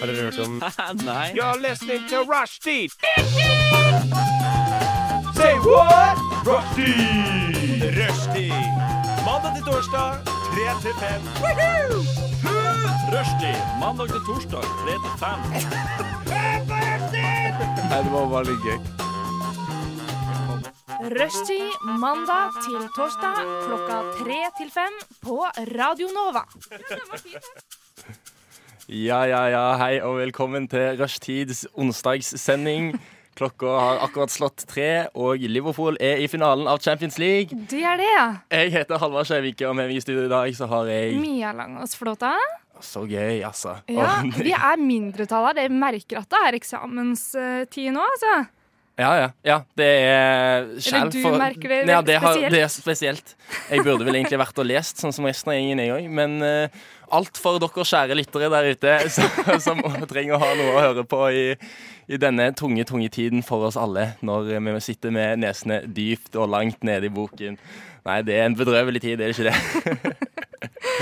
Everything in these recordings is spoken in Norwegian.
Har dere hørt om Nei. You're listening to Rushdie. Say what? Rushdie. Rushdie. Mandag til torsdag, 3 til 5. Rushdie. Mandag til torsdag, 3 til 5. Rushtid mandag til torsdag klokka tre til fem på Radio Nova. Ja, ja, ja, hei og velkommen til Rushtids onsdagssending. Klokka har akkurat slått tre, og Liverpool er i finalen av Champions League. Det er det, ja. Jeg heter Halvard Skjevik, og med meg i studio i dag så har jeg Mia Langås Flåta. Så gøy, altså. Ja, Og- vi er mindretallet. Dere merker at det er eksamenstid nå, altså. Ja, ja. ja det er skjell du merker det ja, veldig det, har, spesielt. det er spesielt. Jeg burde vel egentlig vært og lest, sånn som resten av gjengen, jeg òg. Men eh, alt for dere kjære lyttere der ute som, som trenger å ha noe å høre på i, i denne tunge, tunge tiden for oss alle, når vi sitter med nesene dypt og langt nede i boken. Nei, det er en bedrøvelig tid, er det ikke det?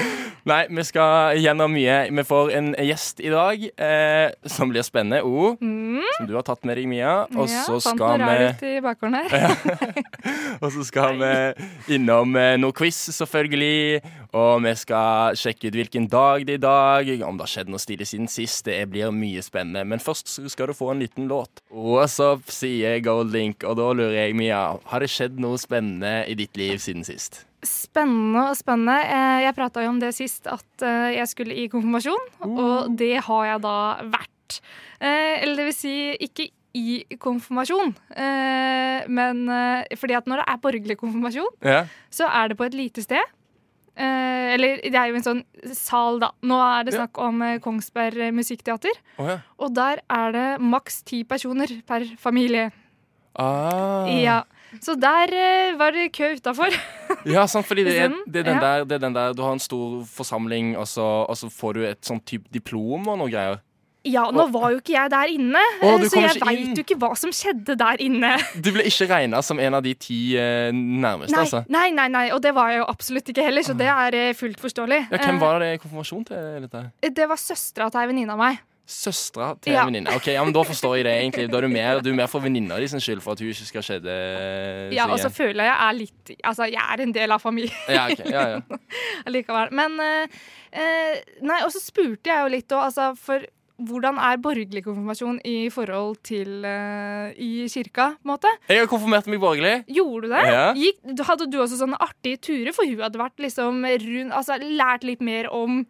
Nei, vi skal gjennom mye. Vi får en gjest i dag eh, som blir spennende. O, som du har tatt med deg, Mia. Og ja, så fant skal noe vi rar ut i bakgården her. og så skal vi innom eh, noe quiz, selvfølgelig. Og vi skal sjekke ut hvilken dag det er i dag, om det har skjedd noe stilig siden sist. Det blir mye spennende. Men først så skal du få en liten låt. What's up, sier Goldlink, og da lurer jeg, Mia, har det skjedd noe spennende i ditt liv siden sist? Spennende og spennende. Eh, Jeg prata jo om det sist, at eh, jeg skulle i konfirmasjon, og det har jeg da vært. Eh, Eller det vil si, ikke i konfirmasjon, eh, men eh, fordi at når det er borgerlig konfirmasjon Ja. så er det på et lite sted. Eh, eller det er jo en sånn sal, da. Nå er det Ja. snakk om eh, Kongsberg eh, Musikkteater. Å ja. Og der er det maks ti personer per familie. Ah. Ja. Så der eh, var det kø utafor. Ja, sant, fordi det er, Isteden? det, er den Sånn? Ja. der, det er den der Du har en stor forsamling, og så, og så får du et sånt type diplom og noe greier. Ja, nå var jo ikke jeg der inne, Å, eh, du så kommer jeg ikke inn. veit jo ikke hva som skjedde der inne. Du ble ikke regna som en av de ti eh, nærmeste, Nei, altså. nei, nei, nei, og det var jeg jo absolutt ikke heller, så det er eh, fullt forståelig. Ah. Ja, hvem var det konfirmasjon til? dette? Eh, Det var søstera til ei venninne av meg. Søstera til Ja. en venninne. Ok, ja, men Da forstår jeg det. egentlig Da er du mer, du er mer for venninna di sin skyld for at hun ikke skal skjede Ja, og så føler jeg jeg er litt Altså, jeg er en del av familien. ja, ok, ja, ja. allikevel. Men eh, eh, Nei, og så spurte jeg jo litt òg, altså, for hvordan er borgerlig konfirmasjon i forhold til eh, i kirka, på en måte? Jeg har konfirmert meg borgerlig. Gjorde du det? Ja. Gikk, hadde du også sånne artige turer? For hun hadde vært liksom rundt Altså lært litt mer om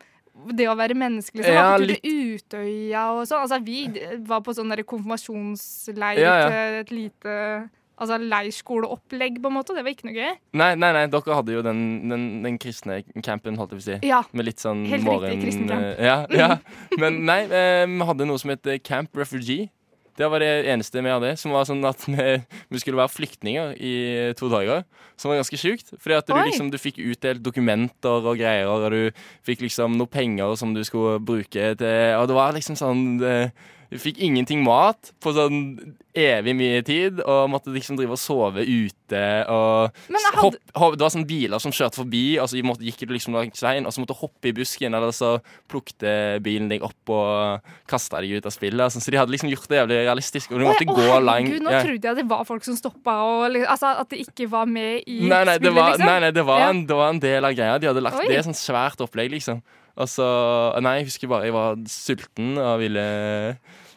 det å være menneske, liksom. Ja, Ja, litt... Utøya og sånn. Altså, vi d- var på sånn der konfirmasjonsleir Ja, ja. til et lite Altså leirskoleopplegg, på en måte. Det var ikke noe gøy. Nei, nei, nei, dere hadde jo den, den, den kristne campen, holdt jeg på å si. Ja. Med litt sånn Helt riktig, morgen... kristen Mm. camp. Ja, ja. Men nei, eh, vi hadde noe som het eh, Camp Refugee. Det var det eneste vi hadde, som var sånn at vi, vi skulle være flyktninger i eh, to dager. Som var ganske sjukt. Fordi at du, Oi. liksom, du fikk utdelt dokumenter og greier, og du fikk liksom noe penger som du skulle bruke til Og det var liksom sånn eh, Du fikk ingenting mat på sånn evig mye tid, og måtte liksom drive og sove ute og Men jeg hadde- hopp, hopp, Det var sånn biler som kjørte forbi, og så måtte, gikk du liksom langs veien, og så måtte du hoppe i busken, eller så plukte bilen deg opp og kasta deg ut av spillet. og Sånn, så de hadde liksom gjort det jævlig realistisk, og du måtte Å, gå herregud, lang Nå ja. trodde jeg det var folk som stoppa, og li- altså, at det ikke var med i Nei, nei, det spillet, var, liksom. nei, nei det, var Ja. en, det var en del av greia. De hadde lagt Oi. det i et sånt svært opplegg, liksom. Og så Nei, jeg husker bare jeg var sulten og ville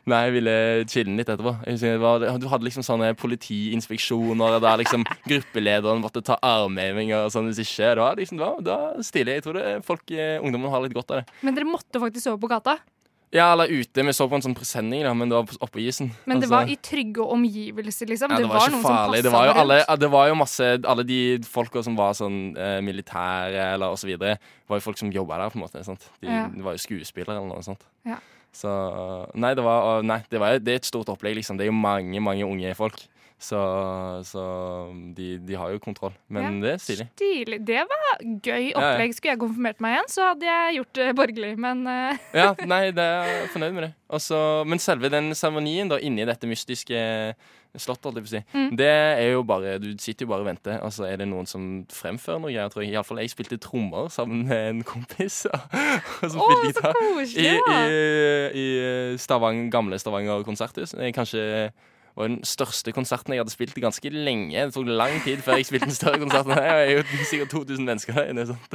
Nei, jeg ville chille litt etterpå. Jeg husker det var, du hadde liksom sånne politiinspeksjoner der liksom gruppelederen måtte ta armhevinger og sånn hvis ikke. Det var liksom, det var, det var stilig. Jeg tror det, folk, eh, ungdommen har litt godt av det. Men dere måtte faktisk sove på gata. Ja, eller ute. Vi så på en sånn presenning, da, men det var oppå isen. Men det Altså- var i trygge omgivelser, liksom. Ja, det, var noen som Det var jo, passa alle, ja, det var jo masse Alle de folka som var sånn eh, militære eller og så videre, var jo folk som jobba der, på en måte. Sant? De, Ja. de var jo skuespillere eller noe sånt. Ja. Så eh, Nei, det var Nei, det, var, det er et stort opplegg, liksom. Det er jo mange, mange unge folk. Så, så mm, de, de har jo kontroll. Men det er stilig. Stilig. Det var gøy Ja, ja. opplegg. Skulle jeg konfirmert meg igjen, så hadde jeg gjort det borgerlig. Men eh, Ja, nei, det er jeg fornøyd med det. Og så- men selve den seremonien da, inni dette mystiske slått, holdt jeg på å si. Mm. Det er jo bare Du sitter jo bare og venter, og så er det noen som fremfører noe greier, tror jeg. Iallfall jeg spilte trommer sammen med en kompis og, og som Å, spilte så gitar. I, koselig, da! i, i eh, Stavang, gamle Stavanger konserthus. Det er Kanskje var den største konserten jeg hadde spilt ganske lenge. Det tok lang tid før jeg spilte en større konsert enn det. Jeg er jo sikkert 2000 mennesker der inne. Sant?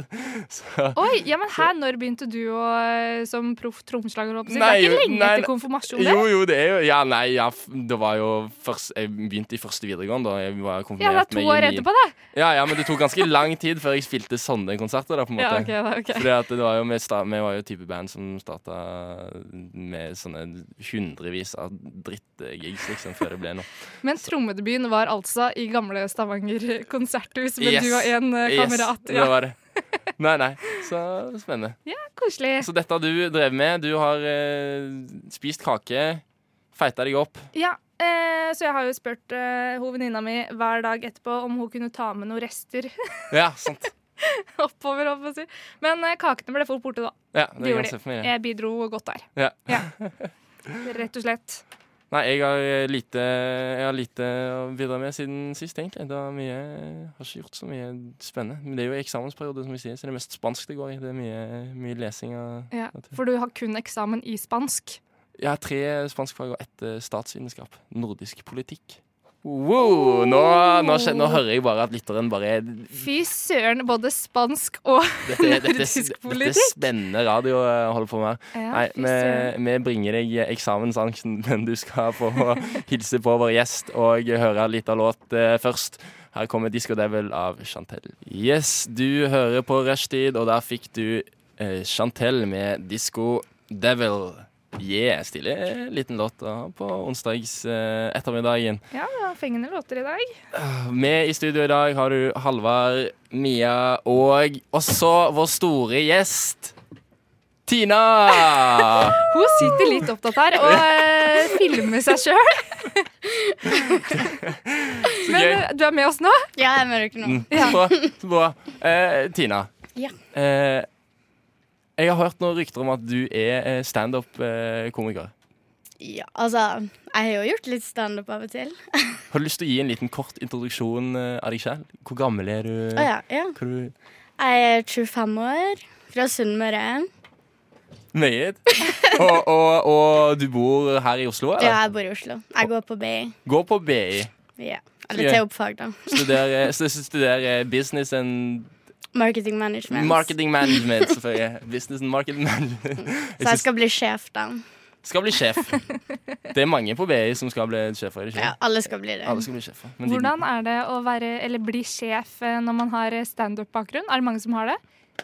Så, Oi, ja, men her, Når begynte du å, eh, som proff trommeslager? holdt jeg på å si? Det Nei, er jo, ikke lenge nei, etter konfirmasjon? det. jo, jo, det er jo Ja, nei, ja, f- det var jo først Jeg begynte i første videregående, da. Jeg var Ja, det er konfirmert to med år i ni- etterpå, det. Ja, ja, men det tok ganske lang tid før jeg spilte sånne konserter, da, på en måte. Ja, ok, da, ok. Fordi at det var jo, vi, sta, vi var jo type band som starta med sånne hundrevis av drittgigs liksom, før det ble noe. Men trommedebuten var altså i gamle Stavanger konserthus med Yes. du og en eh, kamerat. det Ja, var det. Nei, nei. Så spennende. Koselig. Så dette har du drevet med. Du har eh, spist kake, feita deg opp. Ja, eh, så jeg har jo spurt eh, hun venninna mi hver dag etterpå om hun kunne ta med noen rester Ja, sant. oppover. holdt jeg på å si. Men eh, kakene ble fort borte, da. Ja, det Det kan gjorde jeg se for meg. Jeg bidro godt der. Ja. Rett og slett. Nei, jeg har eh, lite, jeg har lite å bidra med siden sist, egentlig. Det er mye, jeg har ikke gjort så mye spennende. Men det er jo eksamensperiode, som vi sier, så det er mest spansk det går i. Det er mye, mye lesing. Og Ja, for du har kun eksamen i spansk. jeg har tre spanskfag og ett eh, statsvitenskap. Nordisk politikk. Wow! Nå, nå, skjønner, nå hører jeg bare at lytteren bare Fy søren, både spansk og Dette, er- dette, er- Nordisk dette er politikk. spennende radio å holde på med. ja, Nei, fy søren. vi, vi bringer deg eksamensangsten, men du skal få hilse på vår gjest og høre litt av låt eh, først. Her kommer Disco Devil av Chantel. Yes, du hører på Rushtid, og der fikk du eh, Chantel med Disco Devil. Yeah, stille liten låt da, på onsdags eh, ettermiddagen. Ja, det var fengende låter i dag. Med i studio i dag har du Halvard, Mia og også vår store gjest Tina! Hun sitter litt opptatt her og eh, filmer seg sjøl. Men gøy. eh, du er med oss nå? Ja, jeg merker ikke noe. Så bra. Så bra. Eh, Tina. Ja. Eh, jeg har hørt noen rykter om at du er eh, standup-komiker. Ja, altså, jeg har jo gjort litt standup av og til. Har du lyst til å gi en liten kort introduksjon eh, av deg selv? Hvor gammel er du? Å ja, ja. Hva du Jeg er 25 år, fra Sunnmøre. Meget. Og, og, og du bor her i Oslo? Ja, Eller? jeg bor i Oslo. Jeg går på BI. Går på BI. Ja. Ok. Eller TOP-fag, da. Studerer, stu- studerer business and Marketing management. marketing management, selvfølgelig. Business and marketing management. Så jeg skal bli sjef, da. Skal bli sjef. Det er mange på BI som skal bli sjefer. er det ikke? Ja, alle skal bli det. Alle skal bli sjefer. Men de- Hvordan er det å være, eller bli sjef eh, når man har eh, standup-bakgrunn? Er det mange som har det?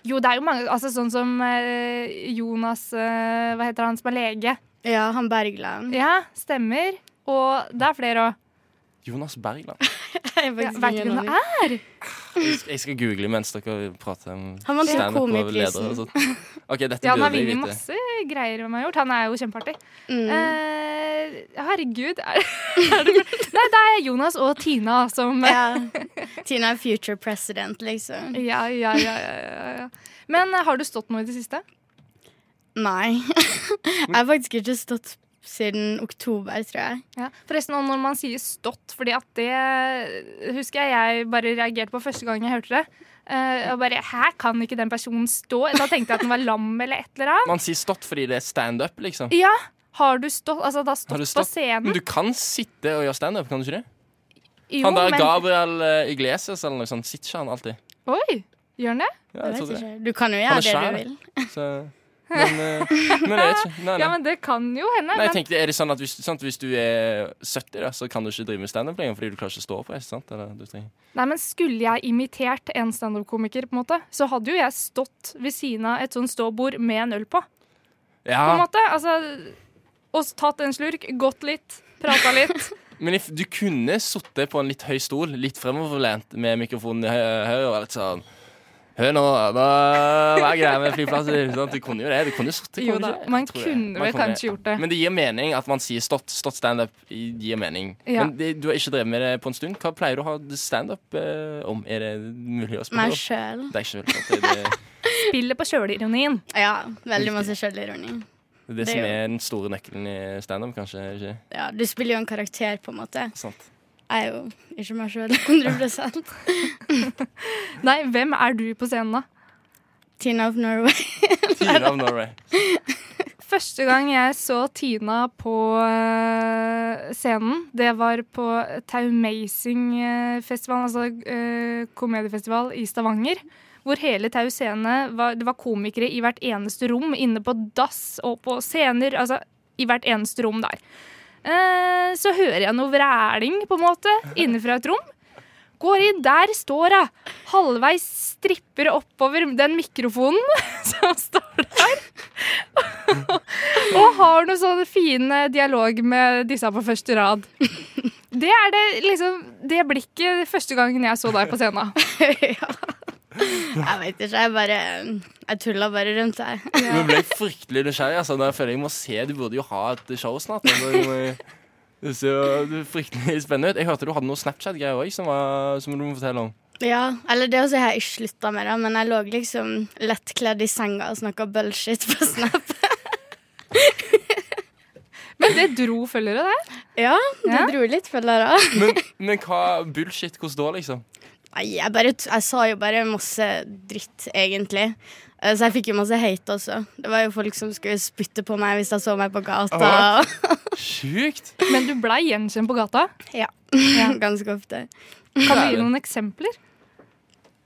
Jo, det er jo mange, altså sånn som eh, Jonas, eh, hva heter han, som er lege. Ja, han Bergland. Ja, stemmer. Og det er flere òg. Jonas Bergland. Jeg Ja, vet ikke hvem det er. Jeg skal google mens dere prater om Han vant jo standup og ledere og komiprisen. sånt. Ok, dette Ja, han har burde jeg vunnet vite. masse greier han har gjort. Han er jo kjempeartig. Mm. Eh, herregud. Er, er det, nei, det er Jonas og Tina som Ja. Tina er future president, liksom. Ja, ja, ja, ja, ja, ja. Men eh, har du stått noe i det siste? Nei. Jeg har faktisk ikke stått siden oktober, tror jeg. Ja. Forresten, og når man sier stått, fordi at det husker jeg jeg bare reagerte på første gang jeg hørte det. Eh, og bare Hæ, kan ikke den personen stå? Da tenkte jeg at den var lam eller et eller annet. Man sier stått fordi det er standup, liksom. Ja, har du stått? Altså, da Har stått, du på stått? Men scenen? du kan sitte og gjøre standup, kan du ikke det? Jo, Han der men- Gabriel eh, Iglesias eller noe sånt, sitter ikke han alltid? Oi, gjør den det? Ja, Jeg jeg vet tror det. ikke. Du kan jo Han gjøre er det svær, du da. vil. Så, men, eh, men jeg vet ikke. Nei, Ja, nei. men det kan jo hende. Nei, jeg men- tenkte, er det sånn at hvis, sånn at hvis du er 70, da, så kan du ikke drive med standup lenger fordi du klarer ikke å stå oppreist? sant? Eller, du trenger... Nei, men Skulle jeg imitert en standup-komiker, på en måte, så hadde jo jeg stått ved siden av et sånt ståbord med en øl på. på en Ja, måte. Altså, og s- tatt en slurk, gått litt, prata litt. men if, du kunne sittet på en litt høy stol, litt fremoverlent, med mikrofonen i hø- høyre og litt sånn Hør nå, da Hva er greia med flyplasser? Sant? Du kunne jo det. Du kunne sittet, Jo kunne da, du ikke? man Jeg tror det. kunne Man vel kanskje gjort det. Men det gir mening at man sier stått, stått standup. i- gir mening. Ja. Men det, du har ikke drevet med det på en stund. Hva pleier du å ha standup eh, om? Er det mulig å spørre Meg om? sjøl. Det er ikke vel sant. Det, det, Spillet på sjølironien. Ja, veldig masse sjølironien. Det Det som er jo- er den store nøkkelen i standup, kanskje? ikke Ja, du spiller jo en karakter, på en måte. sant? Jeg er jo ikke meg sjøl 100 Nei, hvem er du på scenen, da? Tina of Norway. Tina of Norway. Første gang jeg så Tina på eh, scenen, det var på Taumazing-festivalen, altså eh, komediefestival i Stavanger. Hvor hele Tau scene var Det var komikere i hvert eneste rom, inne på dass og på scener. Altså i hvert eneste rom der. Eh, så hører jeg noe vræling, på en måte, inne fra et rom. Går inn, der står hun! Halvveis stripper oppover den mikrofonen som står der. Og har noe sånn fin eh, dialog med disse på første rad. Det er det liksom Det blikket første gangen jeg så deg på scenen. ja. Jeg vet ikke. Jeg bare Jeg tulla bare rundt her. Nå ble jeg fryktelig nysgjerrig. Altså. Da føler jeg jeg må se, Du burde jo ha et show snart. Altså. Du må- Det ser jo fryktelig spennende ut. Jeg hørte du hadde noe Snapchat-greier òg som, var- som du må fortelle om. Ja, eller det også har jeg ikke slutta med, da, men jeg lå liksom lettkledd i senga og snakka bullshit på Snap. Men det dro følgere, det. Ja, det Ja? dro litt følgere. Men, men hva bullshit? Hvordan da, liksom? Nei, jeg, bare, t- jeg sa jo bare masse dritt, egentlig. Eh, Så jeg fikk jo masse hate også. Det var jo folk som skulle spytte på meg hvis de så meg på gata. Åh. Sjukt! Men du blei gjenkjent på gata. Ja, Ganske ofte. Kan du gi noen eksempler?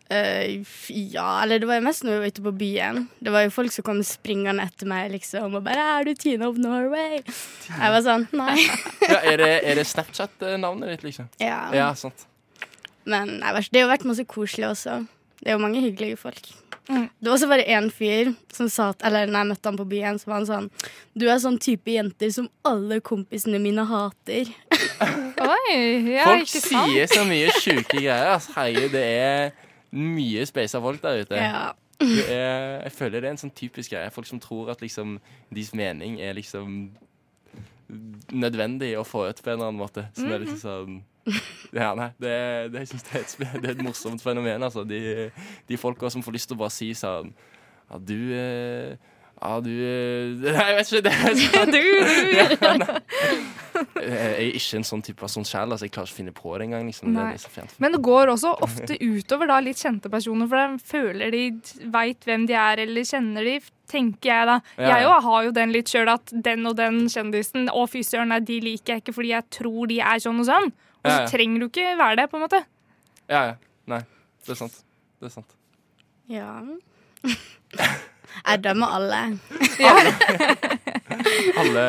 Eh, f- ja, eller det var jo mest når vi var ute på byen. Det var jo folk som kom springende etter meg liksom og bare 'Er du Tina of Norway?' Jeg var sånn Nei. Ja, er det, er det Snapchat-navnet ditt, liksom? Ja. Ja, sant. Men nei, vær- det har jo vært masse koselig også. Det er jo mange hyggelige folk. Mm. Det var også bare én fyr som sa at, Eller når jeg møtte han på byen, så var han sånn 'Du er sånn type jenter som alle kompisene mine hater'. Oi, ja, Folk ikke sant? sier så mye sjuke greier. Altså. Herregud, det er mye speisa folk der ute. Ja. Det er, jeg føler det er en sånn typisk greie. Folk som tror at liksom deres mening er liksom nødvendig å få ut på en eller annen måte. Som er Mhm. liksom sånn Ja, nei, det, det, jeg synes det, er et, sp- det er et morsomt fenomen, altså. De, de folka som får lyst til å bare si sånn Ja, du eh, Ja, du eh, Nei, jeg vet ikke. Det er sånn Du, du. Jeg er ikke en sånn type person sjæl. Altså, jeg klarer ikke å finne på det engang. Liksom. Det Nei. er så fjernt. Men det går også ofte utover da litt kjente personer, for de føler de veit hvem de er, eller kjenner de, tenker jeg da. Ja, ja. Jeg jo har jo den litt sjøl at den og den kjendisen, å fy søren, nei, de liker jeg ikke fordi jeg tror de er sånn og sånn. Og så Ja, ja. trenger du ikke være det, på en måte. Ja, ja. Nei, det er sant. Det er sant. ja. Jeg dømmer alle. Alle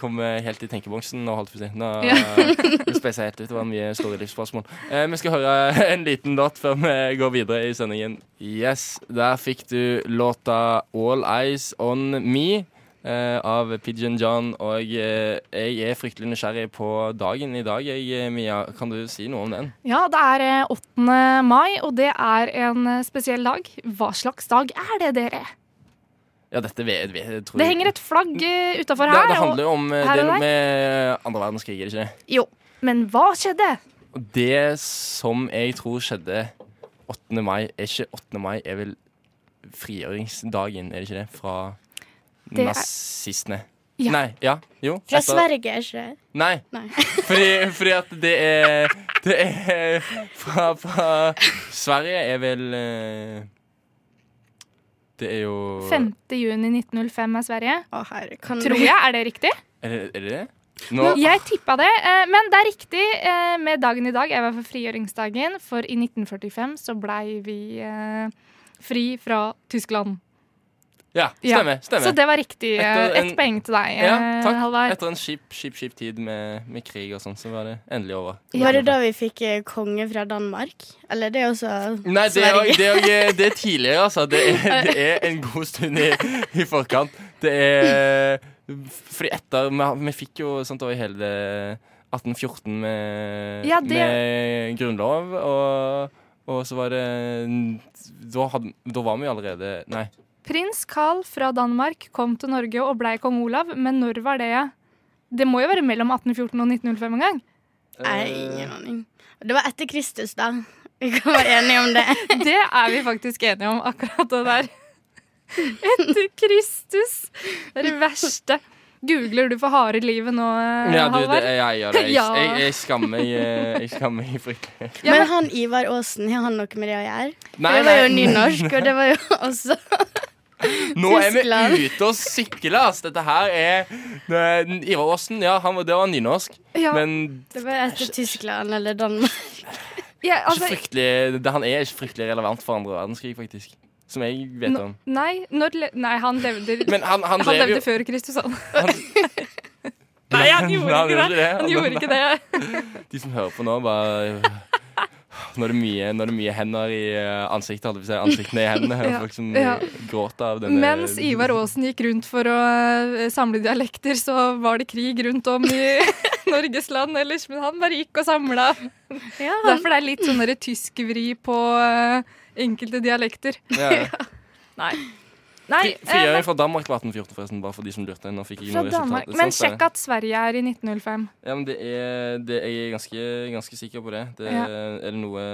kom eh, helt i tenkeboksen nå, holdt vi på å si. Nå Ja. eh, speiser jeg helt ut. Det var mye store livsspørsmål. Eh, vi skal høre en liten låt før vi går videre i sendingen. Yes, der fikk du låta 'All Eyes On Me'. eh, av Pigeon John, og eh, jeg er fryktelig nysgjerrig på dagen i dag. Jeg, eh, Mia, kan du si noe om den? Ja, det er eh, 8. mai, og det er en eh, spesiell dag. Hva slags dag er det, dere? Ja, dette vet vi. Det Det henger et flagg eh, utafor Mm. det, her. det handler jo om eh, her det er og noe der. med andre verdenskrig, er det ikke det? og, jo, men hva skjedde? Og det som jeg tror skjedde 8. mai Er ikke 8. mai, er vel frigjøringsdagen, er det ikke det? Fra Det er- nazistene. Ja. Nei, ja, jo. Fra etter- Sverige, er ikke det? Nei, Nei. fordi, fordi at det er Det er fra, fra Sverige er vel eh, Det er jo 5. juni 1905 er Sverige. Å, herre, kan Tror jeg, er det riktig? Er det er det? det? Nå, Jeg tippa det, eh, men det er riktig eh, med dagen i dag. Jeg var for frigjøringsdagen, for i 1945 så blei vi eh, fri fra Tyskland. ja, Ja. stemmer. stemmer. Så det var riktig. Etter eh, en- Ett poeng til deg, ja, eh, takk. Halvard. Etter en kjip, kjip, kjip tid med, med krig og sånn, så var det endelig over. Var det da vi fikk eh, konge fra Danmark? Eller det er også Nei, det er, Sverige. det, er, det er tidligere, altså. Det er, det er en god stund i, i forkant. Det er Fordi etter Vi, har- vi fikk jo sånt over hele det 1814 med, Ja, det- med grunnlov, og, og så var det da, hadde, da var vi jo allerede Nei. Prins Carl fra Danmark kom til Norge og blei kong Olav, men når var det? ja? Det må jo være mellom 1814 og 1905 en gang. Nei, eh, ingen aning. Det var etter Kristus, da. Vi kan være enige om det. Det er vi faktisk enige om, akkurat det der. etter Kristus. Det er det verste. Googler du for harde livet nå, eh, Ja, du, det, Halvard? jeg gjør det. Jeg, Ja. jeg, jeg skammer meg eh, Jeg skammer meg fryktelig. Ja, Men men- han Ivar Aasen, har han noe med det å gjøre? Nei, For det var jo nei, nynorsk, og det var jo også nå er vi Tyskland. ute og sykler, ass! Dette her er eh, Ivar Aasen, ja, han, var- det var nynorsk. Ja, Men Det var etter Tyskland eller Danmark. ikke ja, altså, fryktelig, det, han er ikke fryktelig relevant for andre verdenskrig, faktisk. Som jeg vet om. nei, når, le- nei, han levde Men han, han Han drev jo levde før Kristus, han. Han- Nei, han gjorde Nei, ikke han gjorde ikke det. det. Han gjorde ikke det. De som hører på nå, bare Når det er mye, når det er mye hender i eh, ansiktet, holdt jeg på å si. Ansiktene i hendene. Ja, Folk som ja. gråter av denne Mens Ivar Aasen gikk rundt for å eh, samle dialekter, så var det krig rundt om i Norges land ellers. Men han bare gikk og samla. Ja, han, Derfor det er litt sånn derre tysk vri på eh, enkelte dialekter. ja. Nei. Nei, eh, Fri- Frigjøring fra Danmark var 1814, forresten, bare for de som lurte. Nå fikk jeg ikke fra noe Danmark. resultat. Men Sant, det. sjekk at Sverige er i 1905. Ja, men det er, det er Jeg er ganske, ganske sikker på det. det Ja. Er det noe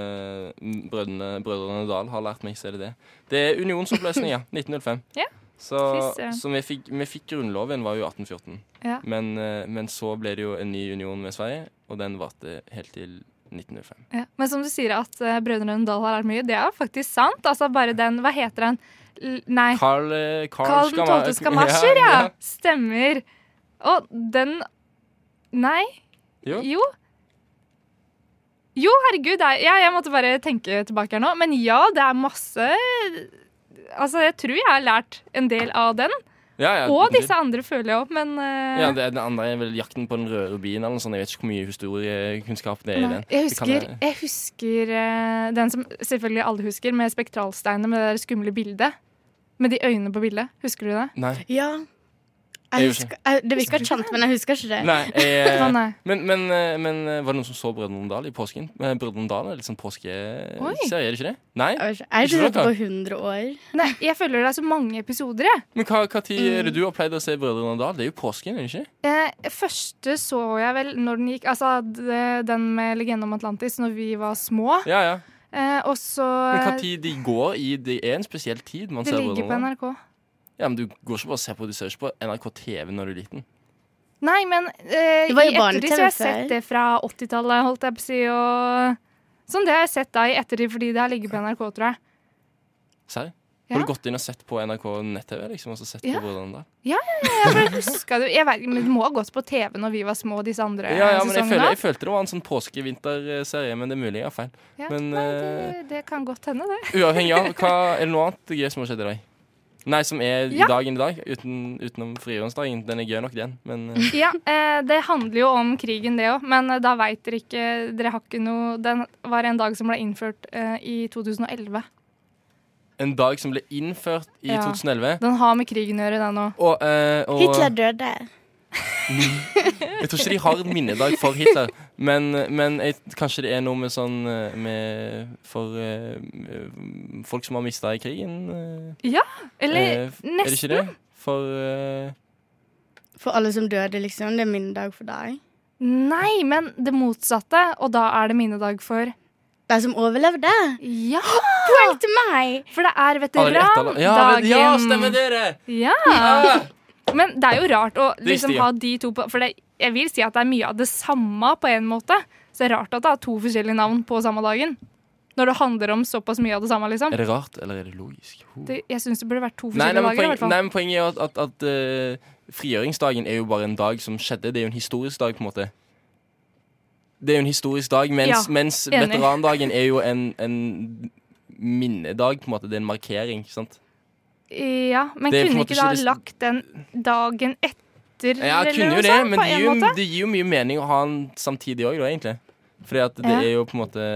brødrene, brødrene Dal har lært meg, så er det det. Det er unionsoppløsning, ja. 1905. Ja. Så, Fy søren. så vi, fikk, vi fikk grunnloven, var jo 1814. Ja. Men, eh, men så ble det jo en ny union med Sverige, og den varte helt til 1905. Ja. Men som du sier at eh, Brødrene Dal har lært mye, det er faktisk sant. Altså bare den Hva heter han? L nei. Carl, eh, Carl, Karl den Skama- 12. skamasjer, ja. ja. Stemmer. Og den Nei. Jo. Jo. Jo, herregud. Jeg, ja, jeg måtte bare tenke tilbake her nå. Men ja, det er masse Altså, jeg tror jeg har lært en del av den. Ja, ja, Og det- disse andre føler jeg opp, men eh, Ja, det er den andre er vel 'Jakten på den røde rubinen' eller noe sånt. Jeg vet ikke hvor mye historiekunnskap det er i nei. den. Jeg Det kan husker, jeg husker eh, den som selvfølgelig alle husker, med spektralsteinene med det der skumle bildet. Med de øynene på bildet. Husker du det? Nei. ja. Jeg Jeg husker. husker, jeg, det virker kjent, men jeg husker ikke det. Nei, jeg, Å, nei. Men, men, eh, men eh, var det noen som så Brødrene Dal i påsken? Eh, Brødrene Dal er litt sånn Oi. påskeserie, er det ikke det? Nei? Jeg vet ikke- jeg har ikke Ikke sett sant, det på 100 år. Nei, jeg føler det er så mange episoder, jeg. Men hva, hva tid er Mm. det du har pleid å se Brødrene Dal? Det er jo påsken, er det ikke? Eh, første så jeg vel når den gikk Altså det, den med legenden om Atlantis, når vi var små. Ja, ja. Eh, og så eh, Men hva tid de går i Det er en spesiell tid man Det ser ligger på Brødrene Dal. NRK. Ja, men du går ikke bare og ser på, du ser ikke på NRK TV når du er liten. Nei, men eh, Det var jo i ettertid så har jeg barne-TV før. sett det fra 80-tallet, holdt jeg på å si. Og sånn det har jeg sett da i ettertid, fordi det har ligget på NRK, tror jeg. Serr? Ja. Har du gått inn og sett på NRK nett-TV, liksom, og så sett Ja. på Brødrene Dal? Jeg bare husker det jeg vet, men Det må ha gått på TV når vi var små, disse andre Ja, ja, men jeg, sesongene. føler, jeg følte det var en sånn påske-vinterserie, men det er mulig jeg har feil. Ja, Men nei, det, det kan godt hende, det. eh, uavhengig av, hva er det noe annet gøy som har skjedd i dag? Nei, som er i Ja. dagen i dag, uten, utenom frigjøringsdagen. Den er gøy nok, den, men eh, Ja, eh, Det handler jo om krigen, det òg, men eh, da veit dere ikke Dere har ikke noe Den var en dag som ble innført eh, i 2011. en dag som ble innført i Ja. 2011. Den har med krigen å gjøre, den òg. Og, eh, og eh, Hitler døde. jeg tror ikke de har en minnedag for Hitler, men, men jeg, kanskje det er noe med sånn eh, med, For eh, eh, folk som har mista i krigen. eh, Eller eh, er det ikke nesten. det? For eh, For alle som døde, liksom. Det er min dag for deg. Nei, men det motsatte, og da er det minnedag for De som overlevde. Ja! Poeng til meg! For det er alle de etterla- veterandagen. Ja, men- ja, stemmer det, det! Ja. Ah! Men det er jo rart å liksom Riktig, ja. ha de to på For det, jeg vil si at det er mye av det samme på en måte. Så det er rart at det er to forskjellige navn på samme dagen. Når det handler om såpass mye av det samme, liksom. Er det rart, eller er det logisk? Ho. Det, jeg syns det burde vært to Nei, nei, men forskjellige dager. i poen, hvert fall. nei, men poenget er jo at, at, at eh, frigjøringsdagen er jo bare en dag som skjedde. Det er jo en historisk dag, på en måte. Det er jo en historisk dag, mens, Ja, mens enig. veterandagen er jo en, en minnedag, på en måte. Det er en markering, ikke sant? Ja, men Det er på en kunne måte ikke da ikke det- lagt den dagen etter? Ja, jeg kunne eller jo noe det, sånt, men på det en gir, jo, måte? det gir jo mye mening å ha den samtidig òg, da, egentlig. Fordi at det Ja. er jo på en måte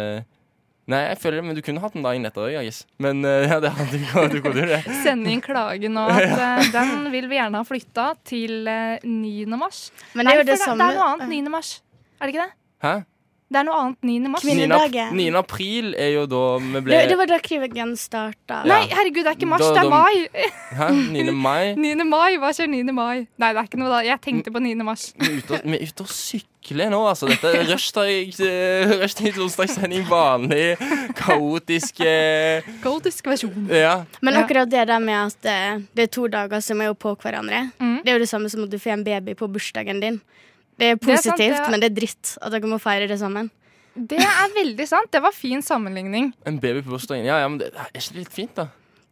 Nei, jeg føler det, men du kunne hatt den dagen etter òg, jeg gis. Men eh, ja, det hadde du, du kunne jo det. Sende inn klage nå at eh, den vil vi gjerne ha flytta til eh, 9. mars. Men Nei, det er for jo det det, det samme er noe annet 9. mars. Er det ikke det? Hæ? Det er noe annet 9. mars. Kvinne- 9. Kvinnedagen. ap- 9. april er jo da vi ble Det, det var da krigen starta. Ja. Nei, herregud, det er ikke mars, Da- det da- er mai! Hæ? 9. mai? 9. mai, hva skjer 9. mai? Nei, det er ikke noe da. Jeg tenkte på 9. mars. Vi er ute og- vi er ute og sykler nå, altså. Dette er rushtid eh, rushtid onsdagssending. Vanlig, kaotisk eh, Goldisk versjon. Ja. Men Ja. akkurat det der med at eh, det er to dager som er jo på hverandre, Mm. det er jo det samme som at du får en baby på bursdagen din. Det er Det er sant, positivt, det er- men det er dritt at dere må feire det sammen. Det er veldig sant. Det var fin sammenligning. En baby på bursdagen. Ja, ja, men det er ikke det litt fint, da?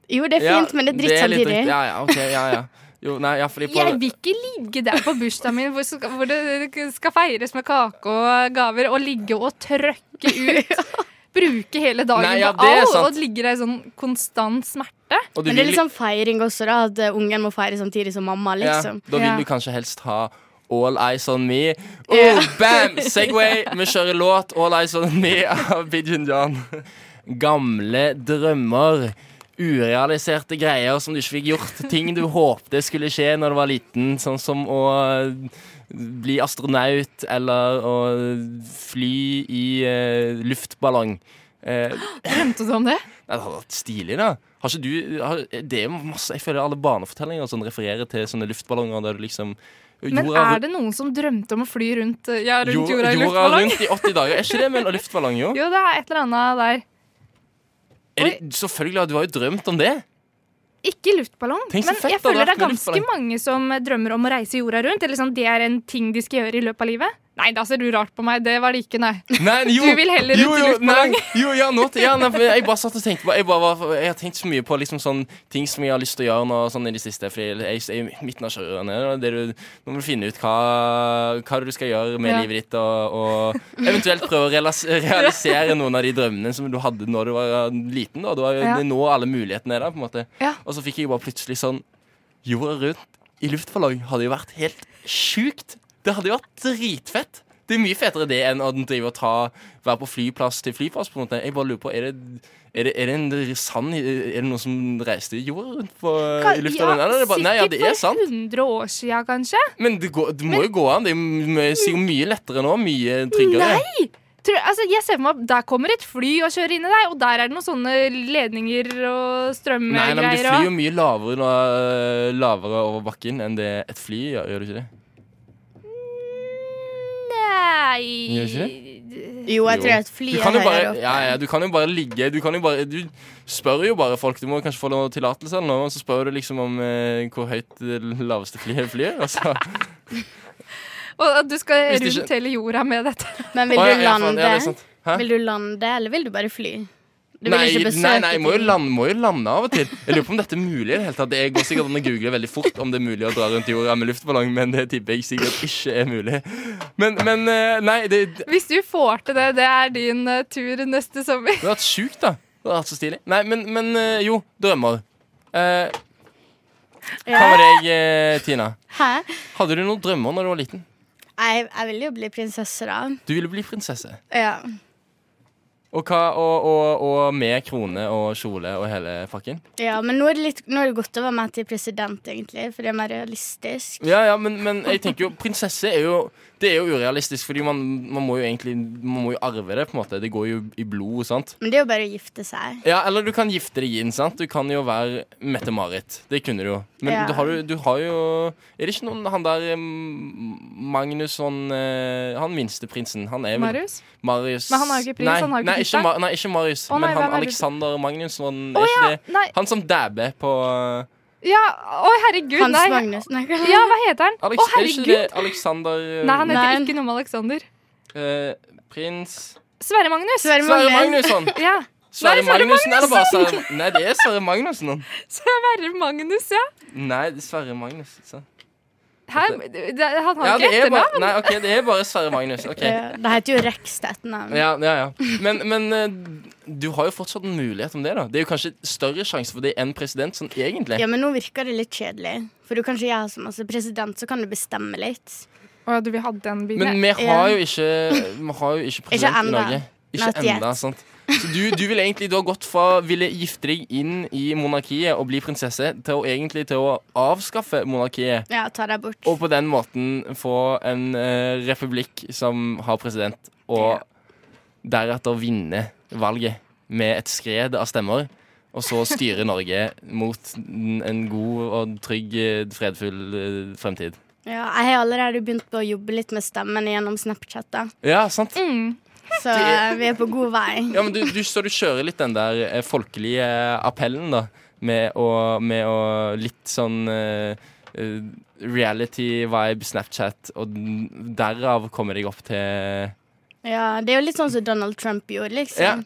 Jo, det er Ja, fint, men det er dritt det litt samtidig. dritt. Ja, ja, ok, ja, ja. Jo, nei, ja, fordi på Jeg vil ikke ligge der på bursdagen min hvor, skal, hvor det skal feires med kake og gaver, og ligge og trøkke ut. Bruke hele dagen Nei, ja, på det er alt, sant. og ligge der i sånn konstant smerte. og du Men det er vil- litt sånn feiring også, da. At eh, ungen må feire samtidig som mamma, Ja, liksom. da vil Ja. du kanskje helst ha All Eyes On Me. Oh, Ja. Bam! Segway! Vi kjører låt All Eyes On Me av Bidjun John. Gamle drømmer. Urealiserte greier som du ikke fikk gjort. Ting du håpte skulle skje når du var liten, sånn som å eh, bli astronaut eller å fly i eh, luftballong. Eh, Drømte du om det? Nei, det hadde vært stilig, da. Har ikke du har, Det er jo masse Jeg føler alle barnefortellinger og sånn refererer til sånne luftballonger der du liksom Men er det noen som drømte om å fly rundt, eh, ja, rundt jorda i jorda luftballong? rundt i 80 dager. Er ikke det med en luftballong, jo? Jo, det er et eller annet der. Er det, selvfølgelig, ja, Du har jo drømt om det. Ikke luftballong, Tenk så men fett det jeg hadde føler det vært er med ganske luftballong. mange som drømmer om å reise jorda rundt. Eller sånn, det er en ting de skal gjøre i løpet av livet. Nei, da ser du rart på meg. Det var det ikke, nei. Nei, jo, Du vil heller jo, rundt i jo, luftballong. nei, Jo, ja, nå, til- ja, nei, for jeg bare satt og tenkte på Jeg, bare, var- jeg har tenkt så mye på liksom sånn ting som jeg har lyst til å gjøre nå sånn i det siste. Fordi jeg er i midten av sjøørene. og det du- Nå må du finne ut hva, hva du skal gjøre med Ja. livet ditt, og, og eventuelt prøve å relas- realisere noen av de drømmene som du hadde når du var liten. Da. Det var jo Ja. det er nå alle mulighetene er der, på en måte. Ja. Og så fikk jeg bare plutselig sånn Jorda rundt i luftballong hadde jo vært helt sjukt. Det hadde jo vært dritfett. Det er mye fetere det enn å drive og ta, være på flyplass til flyplass. på en måte. Jeg bare lurer på, Er det, er det, er det en sann Er det noen som reiste jorda rundt på, i luftballong? eller er det bare, nei, ja, det er sant. Sikkert for 100 år sia, kanskje. Men det, går, det må jo gå an. Det er mye- sikkert mye lettere nå. Mye tryggere. Nei! Tror, altså, jeg ser for meg at Der kommer et fly og kjører inn i deg, og der er det noen sånne ledninger og Nei, nei, men Du strømgreier. flyr jo og- mye lavere, nå, lavere over bakken enn det et fly gjør, gjør du ikke det? Gjør Nei Jo, jeg Jo. tror at Du flyet kan, er jo bare, høyere opp. ja, ja, du kan jo bare ligge Du, kan jo bare, du spør jo bare folk Du må kanskje få noe tillatelse eller noe og Så spør du liksom om eh, hvor høyt det laveste flyet flyr og så- Og at du skal Hvis det rundt hele jorda med dette. Men vil Å, ja, du ja, faen, lande? ja, det er sant. Hæ? Vil du lande, eller vil du bare fly? Du vil Nei, ikke besøke nei, nei, må jo, ting. lande, må jo lande av og til Jeg lurer på om dette er mulig i det hele tatt Det går sikkert an å google veldig fort om det er mulig å dra rundt jorda med luftballong Men det tipper jeg sikkert ikke er mulig Men, men eh, nei, det, det Hvis du får til det, det er din eh, tur neste sommer. har vært sykt da Det har vært så stilig Nei, men, men eh, jo, drømmer eh, Hva med deg, eh, Tina? Hæ? Hadde du noen drømmer når du var liten? Jeg, jeg vil jo bli prinsesse, da. Du ville bli prinsesse. Ja. Og, hva, og, og, og med krone og kjole og hele pakken? ja men nå er, det litt, nå er det godt å være med til president, egentlig, for det er mer realistisk. Ja, ja, men, men jeg tenker jo prinsesse er jo Det er jo urealistisk, fordi man, man må jo egentlig Man må jo arve det, på en måte. Det går jo i blod, sant? Men det er jo bare å gifte seg. Ja, eller du kan gifte deg inn, sant? Du kan jo være Mette-Marit. Det kunne du jo. Men Ja. du, har, jo- du har jo Er det ikke noen Han der eh, Magnusson eh, Han minsteprinsen. Han er vel Marius? Marius Men han har jo ikke prins, Nei, han har jo ikke nei, ikke tittelen. Ma- nei, ikke Marius, Å, nei, men han hvem er det? Alexander Magnusson. Å er ikke ja! det? Nei. Han som dabber på uh, Ja, å herregud, Hans nei. Magnus. Nei, hva- Ja, hva heter han? Alex, Å Er ikke det herregud! Alexander uh, Nei, han heter Nei. ikke noe med Alexander. eh, Prins Sverre Magnus. Sverre Sverre Magnus. Magnusson! Ja. Sverre Sverre Magnussen, er det bare Sverre Nei, det er Sverre Magnussen. han. Sverre Magnus, ja. Nei, det er Sverre Magnus. så. Hæ? Det- Han har Ja, det ikke er etternavn. bare, nei, ok, det er bare Sverre Magnus. Ok. Ja, Det heter jo Rex til etternavn. Ja, ja, ja. Men, men eh, du har jo fortsatt en mulighet om det. da Det er jo kanskje større sjanse for det enn president, sånn egentlig. Ja, men nå virker det litt kjedelig. For du kan ikke gjøre så masse president, så kan du bestemme litt. Å ja, du vil ha den bilen? Men ja. vi har jo ikke, vi har jo ikke president i enda. Norge. Ikke Not yet. enda, sant? Så du, du vil egentlig, du har gått fra å ville gifte deg inn i monarkiet og bli prinsesse, til å egentlig til å avskaffe monarkiet. Ja, ta deg bort. Og på den måten få en eh, republikk som har president. Og deretter vinne valget med et skred av stemmer, og så styre Norge mot n- en god og trygg, eh, fredfull eh, fremtid. Ja, jeg har allerede begynt på å jobbe litt med stemmen gjennom Snapchat, da. Ja, sant? Mm. så eh, vi er på god vei. Ja, men du, du, så du kjører litt den der eh, folkelige appellen, da, med å, med å litt sånn eh, eh, reality-vibe, Snapchat, og n- derav komme deg opp til Ja, Det er jo litt sånn som Donald Trump gjorde, Ja. liksom.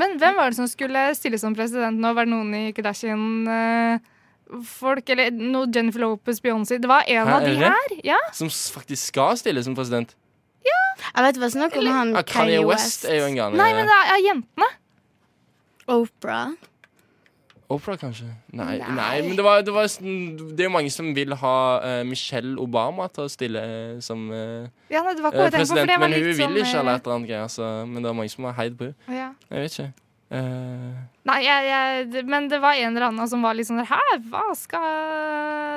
Men hvem var det som skulle stille som president nå? Var det noen i Kardashian-folk? Eller noe Jennifer Lopez, Beyoncé? Det var en Hæ, av er de det det? her. Ja. Som s- faktisk skal stille som president. Mm, Jeg vet hva snakk om han Ja, Kanye West er jo en gang Nei, men det er, er jentene. Oprah. Oprah, kanskje? Nei, nei. Nei. men det, var, det, var, sånn- det er jo mange som vil ha eh, Michelle Obama til å stille eh, som eh, Ja, nei, det var ikke hva jeg tenkte på. for president. det var Men hun litt sånn, vil ikke, eh, eller et eller annet greier. Så, men det er mange som har heid på henne. ja. Jeg vet ikke. Eh, Nei, jeg, jeg, det- men det var en eller annen som var litt sånn der Hæ, hva skal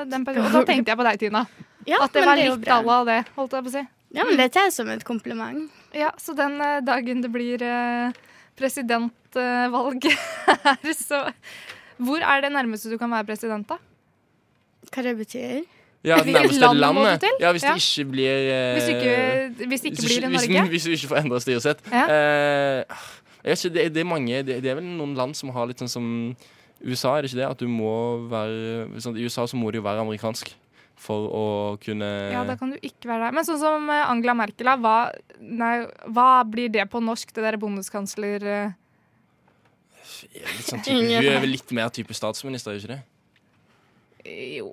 den personen Og da tenkte jeg på deg, Tina. Ja, At det men var det er jo litt bra. à la det, holdt jeg på å si. Ja, men det tar jeg som et kompliment. Ja, så den eh, dagen det blir eh, presidentvalg eh, her, så Hvor er det nærmeste du kan være president, da? Hva det betyr. ja, det Hvilket nærmeste land må du landet. til? Ja, hvis det Ja. ikke blir eh, Hvis du ikke, hvis det ikke blir i hvis- Norge? Hvis du ikke får endra styresett. Ja. Eh, jeg vet ikke, det, det er mange det, det er vel noen land som har litt sånn som USA, er det ikke det? At du må være sånn, I USA så må du jo være amerikansk for å kunne Ja, da kan du ikke være der. Men sånn som eh, Angela Merkel, da, hva, nei, hva blir det på norsk, det derre bondeskansler... eh? Litt sånn type, Ingen- du er vel litt mer type statsminister, er du ikke det? Jo,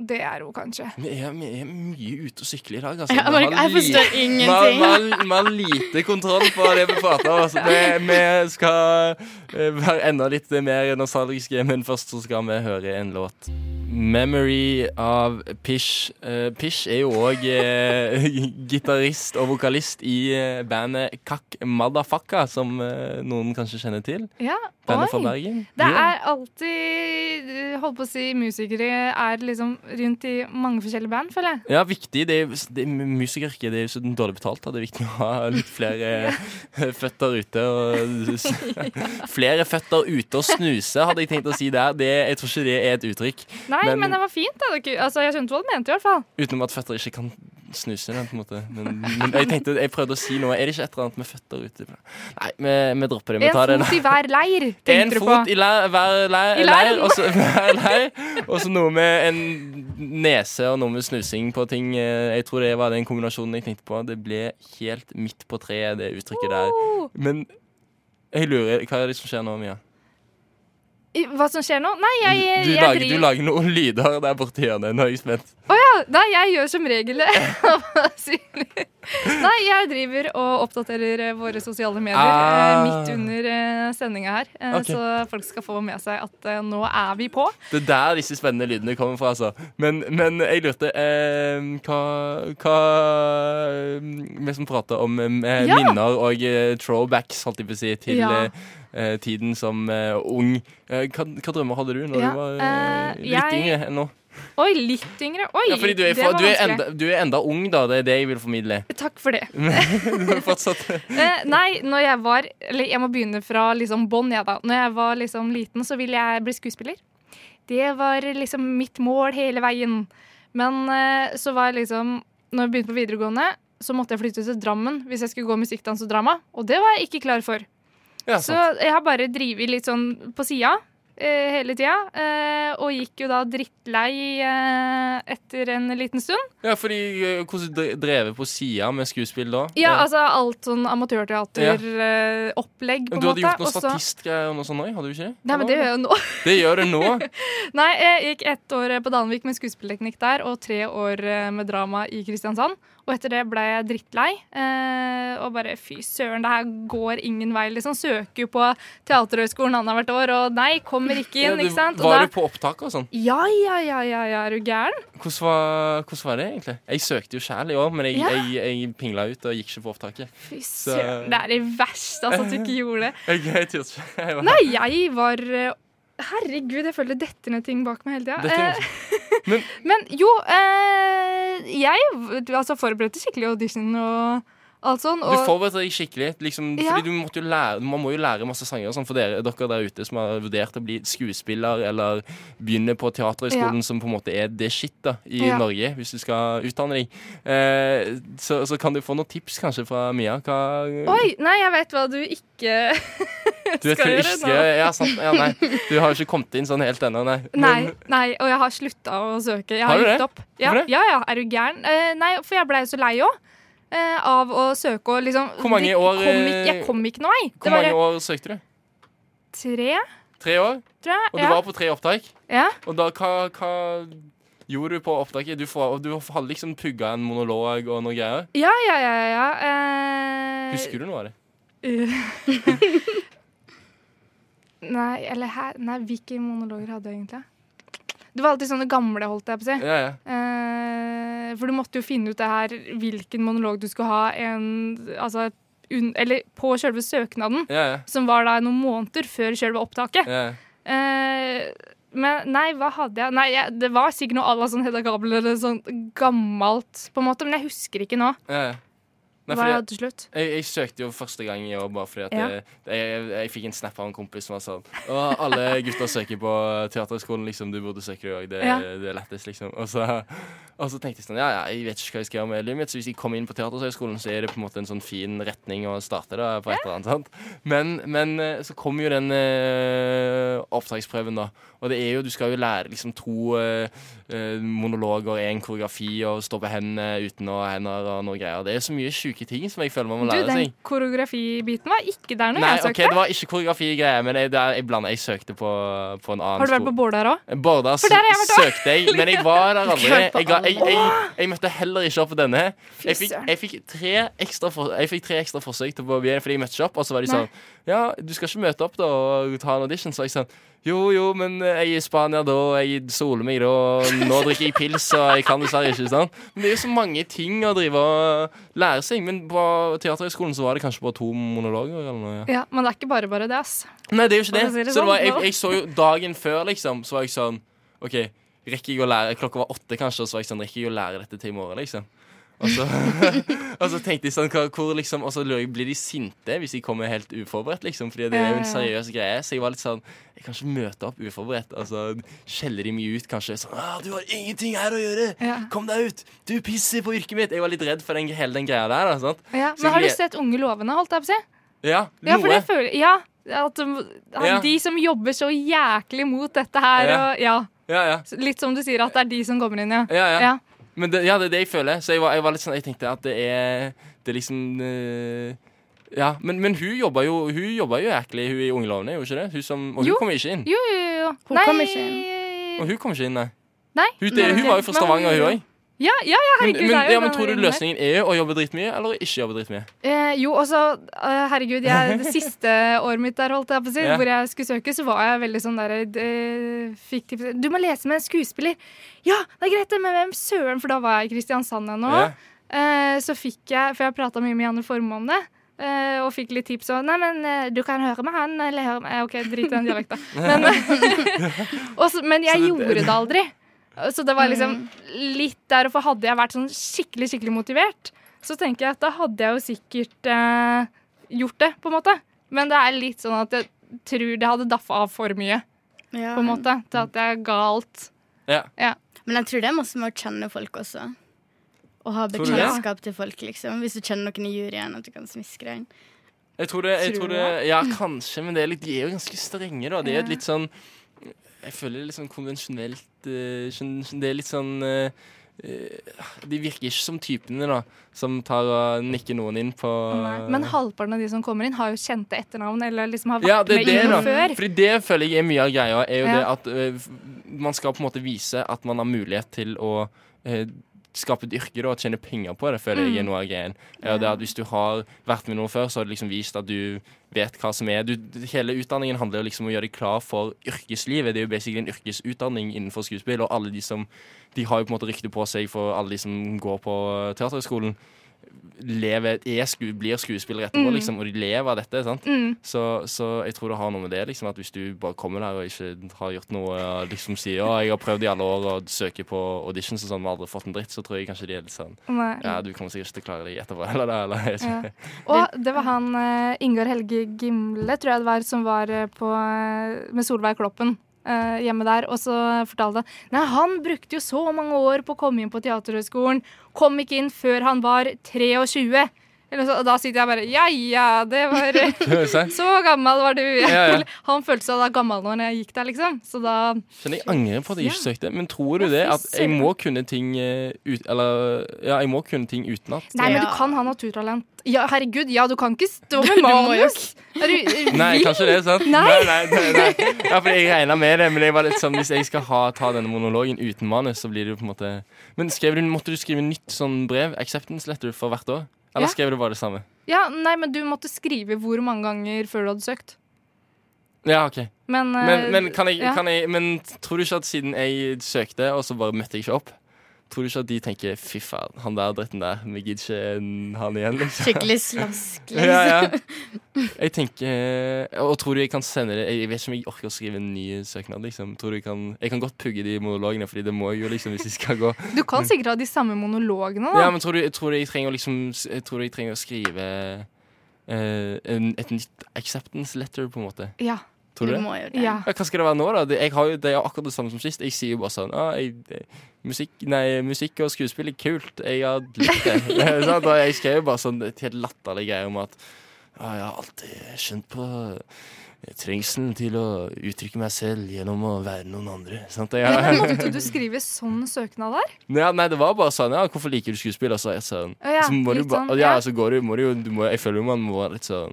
det er hun kanskje. Vi er, vi er mye ute og sykler i dag, altså. Jeg, Vi har jeg lite- forstår vi har- Vi ingenting. har vi har lite kontroll på det vi prater om. Altså. Vi, vi skal eh, være enda litt mer nostalgiske, men først så skal vi høre en låt. 'Memory' av Pish. Eh, Pish er jo òg eh, gitarist og vokalist i eh, bandet Kakk Madafakka, som eh, noen kanskje kjenner til. Ja, Bandet fra oi. Bergen. Det Ja. er alltid, eh, holdt på å si, musikere er liksom rundt i mange forskjellige band, føler jeg. Ja, viktig. Det er, det er musikeryrket det er jo så dårlig betalt. Da. Det er viktig å ha litt flere eh, føtter ute. Og, flere føtter ute og snuse, hadde jeg tenkt å si der. Det, jeg tror ikke det er et uttrykk. Nei, Men- men, det var fint da. Det ku- Altså, jeg skjønte hva du mente i hvert fall. Utenom at føtter ikke kan snuse. Da, på en måte. Men, men jeg tenkte, jeg prøvde å si noe. Er det ikke et eller annet med føtter ute? Nei, vi, vi dropper det. Vi En tar det. fot i hver leir, En tenkte du på. fot i leir, hver leir, I leir, leiren. og så- hver leir, og så noe med en nese og noe med snusing på ting. Eh, Jeg tror det var den kombinasjonen jeg tenkte på. Det ble helt midt på treet, det uttrykket der. Oh, Men jeg lurer, hva er det som skjer nå, Mia? i- Hva som skjer nå? Nei, jeg, jeg, Du jeg lager, driver- du lager noen lyder der borte i hjørnet. Nå er jeg spent. Nei, jeg gjør som regel det. Synlig. Nei, jeg driver og oppdaterer eh, våre sosiale medier eh, Ah. midt under sendinga her, eh, Ok. så folk skal få med seg at eh, nå er vi på. Det er der disse spennende lydene kommer fra, altså. Men, men jeg lurte eh, hva, hva Vi som prater om eh, Ja. minner og eh, throwbacks, holdt jeg på å si, til Ja. eh, eh, tiden som eh, ung. Eh, hva, hva drømmer hadde du når Ja, du var eh, eh, litt jeg- yngre enn nå? Oi, litt yngre. Oi, Ja, fordi du er, det for, var du, er vanskelig. enda, du er enda ung, da. Det er det jeg vil formidle. Takk for det. Du er fortsatt Eh, nei, når jeg var Eller jeg må begynne fra liksom bånn, jeg, da. Når jeg var liksom liten, så ville jeg bli skuespiller. Det var liksom mitt mål hele veien. Men eh, så var jeg liksom Når jeg begynte på videregående, så måtte jeg flytte til Drammen hvis jeg skulle gå musikk, dans og drama. Og det var jeg ikke klar for. ja, Så sant. jeg har bare drevet litt sånn på sida eh, hele tida. Eh, og gikk jo da drittlei eh, etter en liten stund. ja, fordi eh, hvordan dre- drevet på sida med skuespill da? Ja, Eh, altså alt sånn amatørteateropplegg, på en du hadde måte. gjort noe og så- statistgreier og noe sånt òg, hadde du ikke det? Nei, men det gjør jeg jo nå. Det gjør du nå. Nei, jeg gikk ett år eh, på Danvik med skuespillerteknikk der, og tre år eh, med drama i Kristiansand. Og etter det ble jeg drittlei. eh, Og bare fy søren, det her går ingen vei, liksom. Søker jo på Teaterhøgskolen annethvert år, og nei, kommer ikke Ja, inn, du- ikke sant. Og Var da du på opptak og sånn? Ja, ja, ja, ja, ja, er du gæren? Hvordan var, hvordan var det egentlig? Jeg søkte jo sjæl i år, men jeg, Ja. jeg, jeg pingla ut og gikk ikke på opptaket. Fy søren, det er det verste, altså, at du ikke gjorde det. Jeg, jeg turte ikke. Jeg var- Nei, jeg var eh, Herregud, jeg føler det detter ned ting bak meg hele tida. Dette er morsomt. Men eh, Men jo, eh, jeg v- altså, forberedte skikkelig audition og alt sånn. Du Og, forberedte deg skikkelig. Liksom, Ja. Fordi du måtte jo lære, Man må jo lære masse sanger og sånn for dere, dere der ute som har vurdert å bli skuespiller eller begynne på Teaterhøgskolen, som på en måte er det shit da i Ja. Norge, hvis du skal utdanne deg. Eh, så, så kan du få noen tips kanskje fra Mia. Hva Oi, nei, jeg vet hva du ikke du vet hva du skal gjøre ikke nå. skal gjøre. Ja, sant. Ja, nei. Du har jo ikke kommet inn sånn helt ennå, nei. Nei, nei, og jeg har slutta å søke. Jeg har, Har du det? gitt opp. Ja, Hvorfor det? ja, ja, er du gæren? Eh, nei, for jeg blei så lei òg. av å søke og liksom Hvor mange de år, Kom ikke, jeg eh, kom ikke noen vei. Hvor mange år søkte du? tre, Tre år? tror jeg. Og du ja. var på tre opptak? ja. Og da, hva, hva gjorde du på opptaket? Du, får- du hadde liksom pugga en monolog og noe greier. ja, ja, ja. ja, ja. Eh, Husker du noe av det? Nei, eller her Nei, hvilke monologer hadde jeg egentlig? Det var alltid sånne gamle, holdt jeg på å si. Ja, ja. Eh, for du måtte jo finne ut det her hvilken monolog du skulle ha en, altså, un, eller på selve søknaden, ja, ja. som var da noen måneder før selve opptaket. ja. Eh, men nei, hva hadde jeg? Nei, jeg, Det var sikkert noe à la sånn Hedda Gabel eller sånn gammelt, på en måte, men jeg husker ikke nå. ja, ja. Nei, hva fordi jeg jeg, hadde til slutt. jeg, søkte jo første gang i år bare fordi at Ja. jeg, jeg, jeg fikk en snap av en kompis som var sånn Å, alle gutter søker på Teaterhøgskolen, liksom. Du burde søke det òg. Det, Ja. det er lettest, liksom. Og så, og så tenkte jeg sånn Ja, ja, jeg vet ikke hva jeg skal gjøre med livet mitt, så hvis jeg kommer inn på Teaterhøgskolen, så er det på en måte en sånn fin retning å starte da, på et eller annet. sant? Men, men eh, så kom jo den eh, opptaksprøven, da. Og det er jo, du skal jo lære liksom to eh, eh, monologer, én koreografi og stå på hendene uten å ha hender og noe greier. Det er så mye sjuke ting som jeg føler man må Du, lære den seg. koreografibiten var ikke der når Nei, jeg ok, søkte. det var ikke koreografigreier, men jeg, det er- jeg blander. Jeg søkte på, på en annen Har du vært skole. på Bårdar òg? Bårda For der har jeg vært også. søkte jeg, men jeg var der aldri. Jeg, Klart på ga- jeg, jeg, jeg møtte heller ikke opp på denne. Jeg fikk, søren. jeg fikk, tre, ekstra for, jeg fikk tre ekstra forsøk til å bli fordi jeg møtte ikke opp. Og så var de Nei. sånn Ja, du skal ikke møte opp da og ta en audition. Så jeg sånn Jo, jo, men jeg er i Spania da, og jeg soler meg da, og nå drikker jeg pils, og jeg kan dessverre ikke. sant? Men det er jo så mange ting å drive og lære seg. Men på Teaterhøgskolen så var det kanskje bare to monologer eller noe. ja. Ja, men det er ikke bare bare det, ass. Nei, det er jo ikke For å det. si det så det var, sånn, jeg, da. jeg så jo dagen før, liksom, så var jeg sånn OK, rekker jeg å lære Klokka var åtte, kanskje, og så var jeg sånn Rekker jeg å lære dette til i morgen, liksom? Og så, og så tenkte jeg sånn hva, hvor liksom, Og så lurer jeg, blir de sinte hvis jeg kommer helt uforberedt, liksom? Fordi det er jo en Ja, seriøs greie. Så jeg var litt sånn Jeg kan ikke møte opp uforberedt. Og så skjeller de meg ut, kanskje. Sånn «Ah, 'Du har ingenting her å gjøre! Ja. Kom deg ut! Du pisser på yrket mitt!' Jeg var litt redd for den, hele den greia der. Da, sant? Ja, Så men har du jeg- sett Unge lovende, holdt jeg på å si? Ja, Ja, for noe. det føler Ja. At de, at Ja. de som jobber så jæklig mot dette her, Ja. og ja. Ja, ja. Litt som du sier, at det er de som kommer inn, ja. Ja, ja. Ja. Men det, ja, det er det jeg føler. Så jeg var, jeg var litt sånn, jeg tenkte at det er Det er liksom eh, Ja, men, men hun jobba jo Hun jobba jo jæklig, hun i Ungelovene, gjorde hun ikke det? Hun som, og hun Jo. kom ikke inn. Jo, jo, jo. Hun kom ikke Og hun kom ikke inn, nei. Nei. Hun, det, hun var jo fra Stavanger, hun òg. Ja, ja, ja, Men, herregud. men, det er jo ja, men den tror du veien der. løsningen er å jobbe dritmye, eller ikke jobbe dritmye? Eh, jo, og så eh, Herregud, jeg, det siste året mitt der, holdt jeg på å si, Ja. hvor jeg skulle søke, så var jeg veldig sånn der eh, Fikk tips Du må lese med en skuespiller! Ja, det er greit, det, men hvem søren? For da var jeg i Kristiansand ennå. Ja. Eh, så fikk jeg, for jeg prata mye med Janne Formoe om det, eh, og fikk litt tips om Nei, men eh, du kan høre med han, eller høre med eh, OK, drit i den dialekta. Men, og så- men jeg Så det- gjorde det aldri. Så det var liksom litt der, og for hadde jeg vært sånn skikkelig, skikkelig motivert, så tenker jeg at da hadde jeg jo sikkert eh, gjort det, på en måte. Men det er litt sånn at jeg tror det hadde daffa av for mye, Ja. på en måte, til at jeg ga alt. Ja. Men jeg tror det er masse med å kjenne folk også. Å ha Tror du det? bekjentskap til folk, liksom. Hvis du kjenner noen i juryen, at du kan smiske deg inn. Jeg tror det, jeg Tror tror du det Ja, kanskje, men det er litt, de er jo ganske strenge, da. De er Ja. et litt sånn Jeg føler det er litt sånn konvensjonelt eh, skjøn- skjøn- Det er litt sånn eh, eh, De virker ikke som typene, da, som tar og nikker noen inn på Men halvparten av de som kommer inn, har jo kjente etternavn, eller liksom har vært ja, det er med det, inn da. før. Fordi det føler jeg er mye av greia, er jo det Ja. at eh, f- man skal på en måte vise at man har mulighet til å eh, skape et yrke da, og tjene penger på det, føler jeg er noe av greien. Ja, det er at hvis du har vært med noe før, så har du liksom vist at du vet hva som er du, Hele utdanningen handler jo liksom om å gjøre deg klar for yrkeslivet. Det er jo basically en yrkesutdanning innenfor skuespill, og alle de som De har jo på en måte rykte på seg for alle de som går på teaterhøgskolen eh, lever, er sku, blir skuespillere etterpå, liksom, og de lever av dette. sant? Mm. Så, så jeg tror det har noe med det, liksom, at hvis du bare kommer der og ikke har gjort noe, og liksom sier å, jeg har prøvd i alle år å søke på auditions og sånn, men aldri fått en dritt, så tror jeg kanskje de er litt sånn Nei. ja, du kommer sikkert ikke til å klare deg etterpå, eller det, eller jeg vet ikke. Ja. Og det var han eh, Ingar Helge Gimle, tror jeg det var, som var eh, på, eh, med Solveig Kloppen eh, hjemme der. Og så fortalte han Nei, han brukte jo så mange år på å komme inn på Teaterhøgskolen. Kom ikke inn før han var 23. Eller så, og da sitter jeg bare Ja ja, det var eh, Skal vi se. Så gammel var du. Ja, ja. Han følte seg da gammel når jeg gikk der, liksom. Så da Kjenner jeg angrer på at jeg ikke søkte, men tror du Ja, det? fy At jeg søren. må kunne ting eh, ut, Eller ja, jeg må kunne ting utenat. Nei, men du Ja. kan ha naturtalent. Ja, herregud, ja, du kan ikke stå Du med må jo manus. Er du er du Nei, vill? kanskje det, sant? Nei. nei, nei, nei. Ja, for jeg regna med det, men jeg var litt sånn, hvis jeg skal ha, ta denne monologen uten manus, så blir det jo på en måte Men skrev du, måtte du skrive nytt sånn brev, acceptance letter, for hvert år? Ja. Eller skrev du bare det samme? Ja, nei, men du måtte skrive hvor mange ganger før du hadde søkt. Ja, OK. Men, eh, Men, men, kan jeg, ja. kan jeg, men tror du ikke at siden jeg søkte, og så bare møtte jeg ikke opp Tror du ikke at de tenker 'fy faen, han der dritten der, vi gidder ikke han igjen', liksom? Skikkelig slask. Liksom. Ja, ja. Jeg tenker eh, Og tror du jeg kan sende det Jeg vet ikke om jeg orker å skrive en ny søknad. Liksom. Tror du jeg, kan, jeg kan godt pugge de monologene, Fordi det må jeg jo liksom hvis jeg skal gå. Du kan sikkert ha de samme monologene, da. Ja, men tror du, tror du jeg trenger å liksom jeg Tror du jeg trenger å skrive eh, en, et nytt acceptance letter, på en måte? Ja. Tror du Du det? må jo det. ja. Ja, hva skal det være nå, da? Det- Jeg har jo, det er jo akkurat det samme som sist. Jeg sier jo bare sånn ah, jeg, eh, musikk, nei, musikk og skuespill er kult. Jeg har likt det. Sant? Og jeg skrev jo bare sånn et helt latterlig greie om at ah, jeg har alltid skjønt på eh, trengselen til å uttrykke meg selv gjennom å være noen andre. Sant? Jeg, Men har- Måtte du skrive sånn søknad der? ja, nei, det var bare sånn Ja, hvorfor liker du skuespill? Og så, er jeg sånn, Å ja, så må du litt bare sånn, Ja, altså, ja. så går du, må du jo du må, Jeg føler jo man må være litt sånn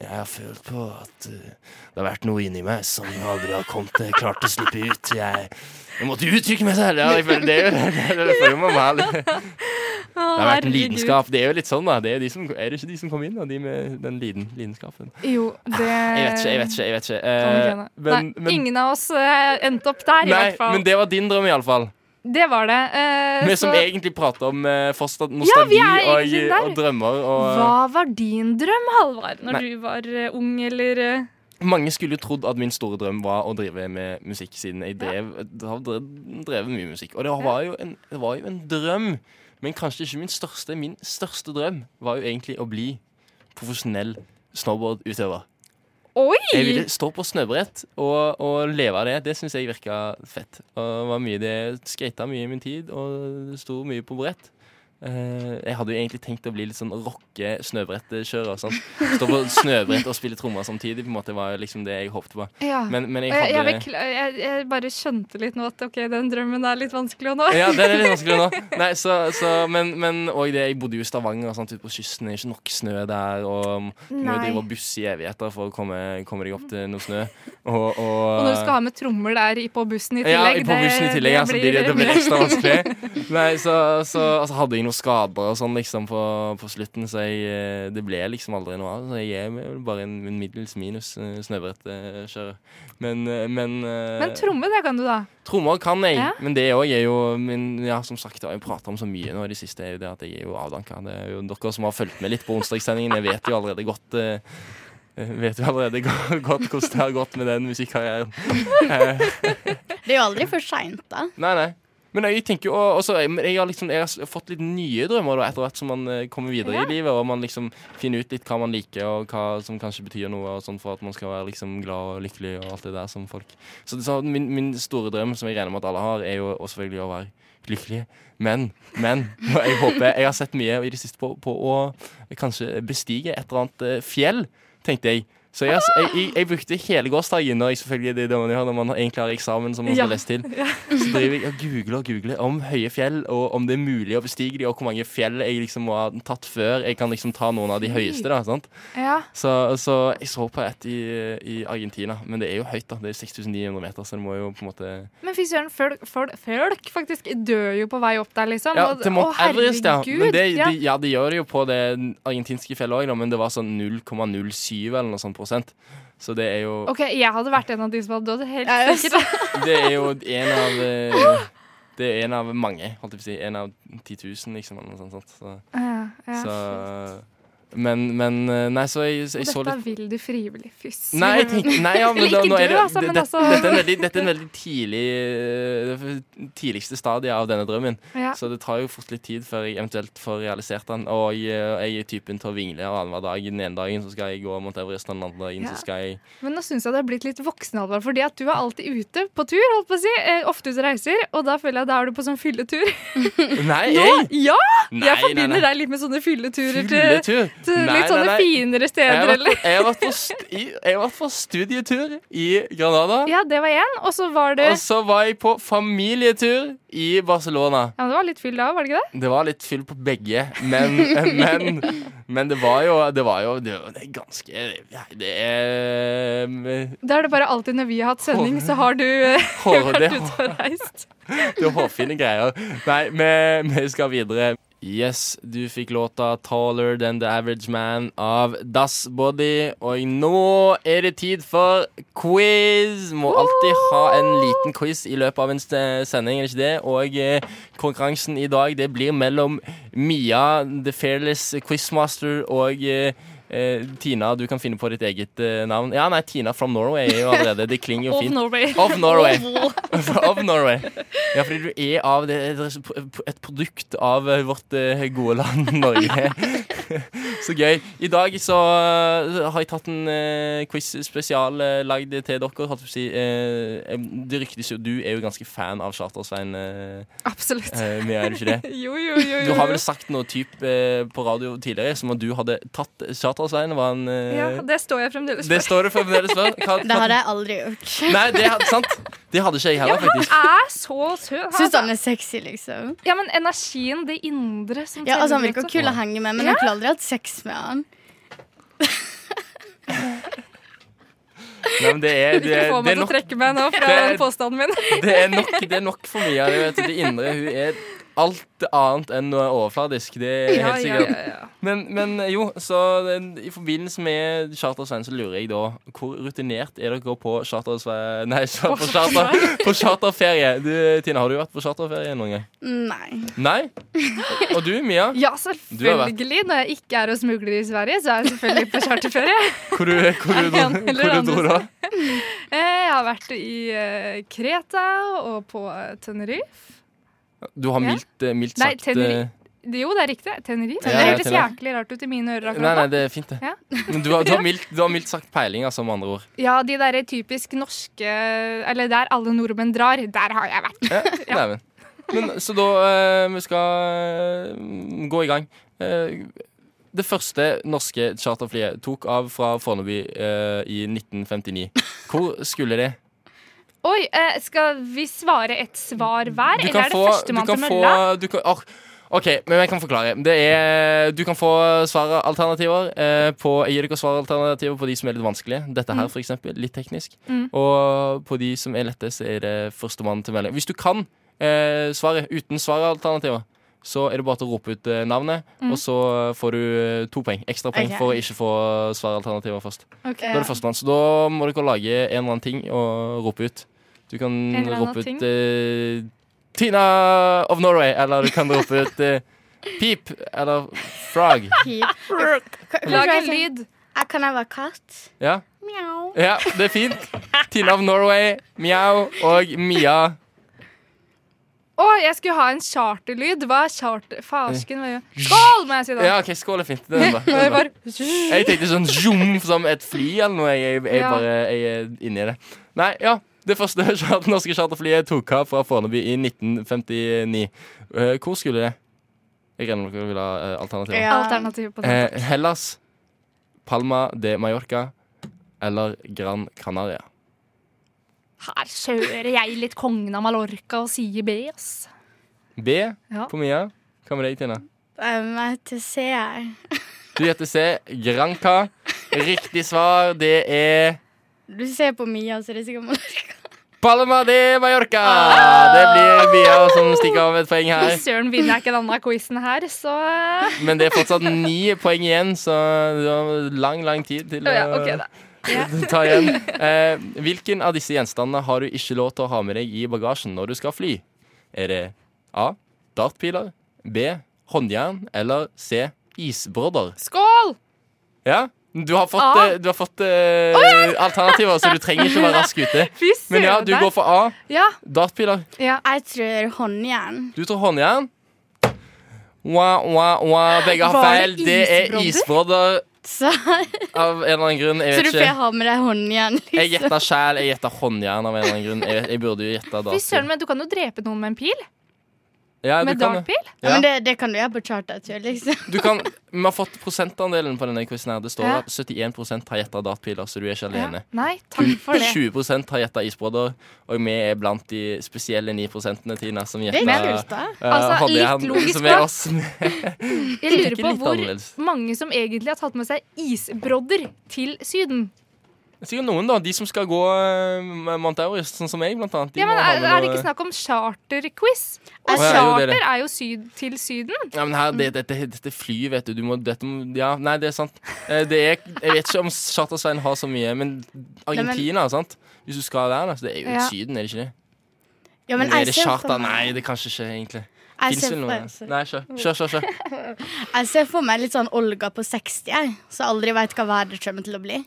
Jeg har følt på at eh, det har vært noe inni meg som aldri har kommet eh, klart å slippe ut. Jeg, jeg måtte uttrykke meg selv! Ja, jeg føler det, er jo- det, er- det føler man må ha litt- Det har vært en lidenskap. Det er jo litt sånn, da. Det er, de som, er det ikke de som kom inn, da? De med den liden, lidenskapen? Jo, det Ah, Jeg vet ikke, jeg vet ikke. Jeg vet ikke. Eh, men, Nei, men, ingen av oss eh, endte opp der, i nei, hvert fall. men det, det var din drøm, iallfall. var det. Eh, Vi så som egentlig prater om eh, fortsatt nostalgi vi er og, egentlig der. og drømmer. Og, hva var din drøm, Halvard, når Nei. du var eh, ung, eller eh, Mange skulle jo trodd at min store drøm var å drive med musikk, siden jeg drev, har drevet, drevet mye musikk. Og det var, jo en, det var jo en drøm, men kanskje ikke min største. Min største drøm var jo egentlig å bli profesjonell snowboardutøver. Jeg ville Oi! stå på snøbrett og, og leve av det. Det syns jeg virka fett. Og det var mye det Skata mye i min tid og sto mye på brett. Eh, jeg hadde jo egentlig tenkt å bli litt sånn rocke snøbrettkjører. og Sånn. Stå på snøbrett og spille trommer samtidig. På en måte var jo liksom det jeg håpte på. Ja. Eh, Men, men jeg jeg, jeg, hadde bekla- jeg, jeg bare skjønte litt nå at ok, den drømmen er litt vanskelig å nå. ja, den er litt vanskelig nå. Nei, så, så, men, men og det, jeg bodde jo i Stavanger, og sånt, ute på kysten. Det er ikke nok snø der. Og må jo Nei. drive og busse i evigheter for å komme, komme deg opp til noe snø. Og, og, Og når du skal ha med trommer der i, på bussen i Ja, tillegg, i på bussen i tillegg, ja, så blir det, det blir ekstra vanskelig. Nei, så, så altså, hadde jeg noen skader og sånn liksom på, på slutten, så jeg, eh, det ble liksom aldri noe av. Så jeg er vel bare en, en middels minus eh, snøbrettkjører. Men, eh, men, eh, Men tromme, det kan du da. trommer kan jeg, Ja. men det òg er jo men, ja, Som sagt, det har jeg prater om så mye nå i det siste, er jo det at jeg er jo avdanka. Det er jo dere som har fulgt med litt på onsdagssendingen, jeg vet jo allerede godt eh, Vet jo allerede go- godt hvordan det har gått med den musikkarrieren. Det er jo aldri for seint, da. Nei, nei. Men jeg tenker jo og- også, jeg, men jeg, har liksom, jeg har s- fått litt nye drømmer da, etter hvert som man eh, kommer videre Ja. i livet, og man liksom finner ut litt hva man liker, og hva som kanskje betyr noe, og sånn for at man skal være liksom glad og lykkelig og alt det der som folk Så, det- så min, min store drøm, som jeg regner med at alle har, er jo og selvfølgelig å være lykkelig. Men, men og jeg håper Jeg har sett mye i det siste på, på å kanskje bestige et eller annet eh, fjell, tenkte jeg. Så jeg, jeg, jeg, jeg brukte hele gårsdagen, når, jeg selvfølgelig, det er det man gjør når man egentlig har eksamen som man skal Ja. lese til. Så driver jeg og googler og googler om høye fjell, og om det er mulig å bestige de, og hvor mange fjell jeg liksom må ha tatt før. Jeg kan liksom ta noen av de høyeste, da. sant? Ja. Så, så jeg så på et i, i Argentina, men det er jo høyt, da. Det er 6900 meter, så det må jo på en måte Men fy søren, folk, folk, folk faktisk dør jo på vei opp der, liksom. Ja, Og- til Mount å, herregud, Everest, ja. Men det, ja. de, ja, de gjør det jo på det argentinske fjellet òg, da, men det var sånn 0,07 eller noe sånt prosent. Så det er jo OK, jeg hadde vært en av de som hadde dødd, helt Ja, ja, sikkert. Det er jo en av eh, Det er en av mange, holdt jeg på å si. En av 10 000, liksom, eller noe sånt. sånt. Så. Ja, Ja. Så, men, men eh, Nei, så jeg, jeg så Dette litt vil du frivillig fysse. Nei, jeg tenk, nei ja, men Eller da, ikke nå er du, det, altså, men det- det- altså- Dette er en veldig, dette er en veldig tidlig eh, tidligste stadie av denne drømmen. Ja. Så det tar jo fort litt tid før jeg eventuelt får realisert den. Og jeg, eh, jeg er typen til å vingle og annenhver dag. Den ene dagen så skal jeg gå mot Everest, den andre dagen Ja. så skal jeg Men nå syns jeg det har blitt litt voksenalvor, fordi at du er alltid ute på tur. holdt på å si, eh, Ofte ute og reiser, og da føler jeg da er du på sånn fylletur. Nei, jeg! Ja! Nei, Jeg nei, nei. forbinder deg litt med sånne fylleturer til, Fylletur! til Nei, litt nei, sånne nei. finere Jeg har steder, eller? vært- jeg har vært på st- i- jeg har vært på studietur i Granada. Ja, det var én, og så var det Og så var jeg på familietur i Barcelona. Ja, men det var litt fyll da, var det ikke det? Det var litt fyll på begge, men, men, men det var jo Det var jo det, det er ganske ja, Det er eh, Da er det bare alltid når vi har hatt sending, så har du eh, hår, det, vært ute og reist. det er hårfine greier. Nei, vi, vi skal videre. Yes, du fikk låta 'Taller Than The Average Man' av Das Body. Og nå er det tid for quiz. Må alltid ha en liten quiz i løpet av en se- sending, er det ikke det? Og eh, konkurransen i dag, det blir mellom Mia, the fearless quizmaster, og eh, eh, Tina, du kan finne på ditt eget eh, navn. Ja, nei, Tina from Norway er jo allerede Det klinger jo Of fint. Norway. Of Norway. of Norway. Ja, fordi du er av det, et produkt av eh, vårt eh, gode land Norge. så gøy. I dag så eh, har jeg tatt en eh, quiz spesial eh, lagd til dere. Holdt på å si. eh, eh, det ryktes jo Du er jo ganske fan av Charter-Svein. Uh, Absolutt. Mia, er du ikke det? Jo, jo, jo. Du jo. har vel sagt noe typ eh, på radio tidligere som at du hadde tatt Charter-Svein. Var han eh, Ja, det står jeg fremdeles Det for. står det fremdeles for. Hva- Det hadde jeg aldri gjort. Nei, det, had- sant? det hadde ikke jeg heller, faktisk. Er så søt. han, Syns altså. han er sexy, liksom. Ja, men energien, det indre som Ja, altså Han teller, virker vet du. kul å henge med, men jeg kunne aldri hatt sex med han. Nei, men det er, det, Du er- det får meg er til å nok, trekke meg nå fra Det- den påstanden min. det er nok, det er nok for mye av det. Vet du. Det indre hun er alt annet enn overfladisk. Det er Ja, helt ja, sikkert. ja, ja. Men, men jo, så den- i forbindelse med Charter-Svein så lurer jeg da Hvor rutinert er dere på charter Nei, på, charter, på charterferie? Du, Tina, har du vært på charterferie noen gang? Nei. Nei? Og du, Mia? Du ja, har vært- selvfølgelig. Når jeg ikke er og smugler i Sverige, så er jeg selvfølgelig på charterferie. Hvor du, hvor du, dro, Eller hvor du dro da? Eh, Jeg har vært i eh, Kreta og på eh, Tenerife. Du har mildt, eh, mildt Nei, sagt eh, Tenerife. Jo, det er riktig. Tenerife. Ja, ja, det hørtes Tenerife. jæklig rart ut i mine ører Nei, akkurat nei, nå. det er fint, det. Ja. Men du har, du, har mildt, du har mildt sagt peiling, altså, med andre ord. Ja, de derre typisk norske Eller der alle nordmenn drar, der har jeg vært. Ja, Nei, men. men så da eh, Vi skal eh, gå i gang. Eh, det første norske charterflyet tok av fra Fornebu eh, i 1959. Hvor skulle det? Oi, eh, skal vi svare et svar hver, eller er det du førstemann kan til få mølla? du kan, ah, OK, men jeg kan forklare. Det er, du kan få svaralternativer. Eh, på, jeg gir dere svaralternativer på de som er litt vanskelige. Dette her, for eksempel. Litt teknisk. Mm. Og på de som er lette, så er det førstemann til melding. Hvis du kan eh, svaret uten svaralternativer, så er det bare til å rope ut eh, navnet, Mm. og så får du eh, to poeng. Ekstra poeng Ok. for å ikke få svaralternativer først. Ok. Da er det førstemann, så da må dere lage en eller annen ting og rope ut. Du kan En eller annen rope ting? ut eh, Tina of Norway, eller du kan rope ut eh, Pip eller Frog. Pip. Lag en lyd. Jeg Eh, kan jeg være katt? Ja. Mjau. ja, det er fint. Tina of Norway, Mjau og Mia. Å, jeg skulle ha en charterlyd. Hva er charter... Farsken, hva gjør Skål, må jeg si da. Ja, OK, skål er fint. Det er bra. Det Og er jeg bra. bare Jeg tenkte sånn zoom som et fly eller noe. Jeg, jeg, jeg Ja. bare jeg er inni det. Nei, ja. Det første chart- norske charterflyet tok av fra Fornebu i 1959. Eh, hvor skulle det? Jeg regner med dere vil ha eh, alternativer. Ja. Alternativ på det. Eh, Hellas, Palma de Mallorca eller Gran Canaria. Her kjører jeg litt kongen av Mallorca og sier B, ass. B Ja. på Mia. Hva med deg, Tina? Um, jeg heter C. jeg. Du gjetter C. Granca. Riktig svar, det er Du ser på Mia, så det er sikkert Mallorca. Palma de Mallorca! Ah! Det blir Mia som stikker av med et poeng her. Hvis søren vinner jeg ikke denne quizen her, så Men det er fortsatt ni poeng igjen, så du har lang, lang tid til ja, OK, da. å ta igjen. Eh, hvilken av disse gjenstandene har du ikke lov til å ha med deg i bagasjen når du skal fly? Er det A. Dartpiler. B. Håndjern. Eller C. Isbrodder. Skål! Ja? Du har fått, A. eh, du har fått eh, alternativer, så du trenger ikke å være rask ute. Fy Men ja, du søren. går for A. Ja, Dartpiler. ja. Jeg tror håndjern. Du tror håndjern. Wah, wah, wah. Begge har Var det feil. Det er isbrodder Så, av en eller annen grunn. Jeg så du vet får ikke. ha med deg håndjern. liksom. Jeg gjetta sjæl. Jeg gjetta håndjern av en eller annen grunn. Jeg, jeg burde jo gjette Fy søren, dartpil. men du kan jo drepe noen med en pil. Ja, du kan Med det. dartpil. Ja. Ja. Men det, det kan du gjøre på chartertur, liksom. Du kan, vi har fått prosentandelen på denne quizen. her. Det står Ja. at 71 har gjetta dartpiler, så du er ikke alene. Ja. Nei, takk for det. 20 har gjetta isbrodder, og vi er blant de spesielle 9 Tina som Det gjetta er kult, da. eh, Altså, håndjern, litt logisk, som er da. oss. Jeg lurer Ikke på litt hvor annerledes. mange som egentlig har tatt med seg isbrodder til Syden. Sikkert noen, da. De som skal gå eh, Mount Everest, sånn som meg, blant annet. De Ja, men må ha er, med er det noe- ikke snakk om charterquiz? Og Å, ja, jo, det er charter det. er jo syd til Syden. Ja, men her, Mm. det- Dette det, dette flyet, vet du. du må, dette, må- ja, nei, det er sant. Eh, Det er, jeg vet ikke om Charter-Svein har så mye, men Argentina, sant? Hvis du skal der, da, så det er jo Ja. Syden, er det ikke det? Ja, Men men er jeg det ser charter? for meg- Nei, det er kanskje ikke egentlig. Jeg Fins ser det for- noe? Nei, kjør. Kjør, kjør. kjør. Jeg ser for meg litt sånn Olga på 60, jeg. Så aldri veit hva været kommer til å bli.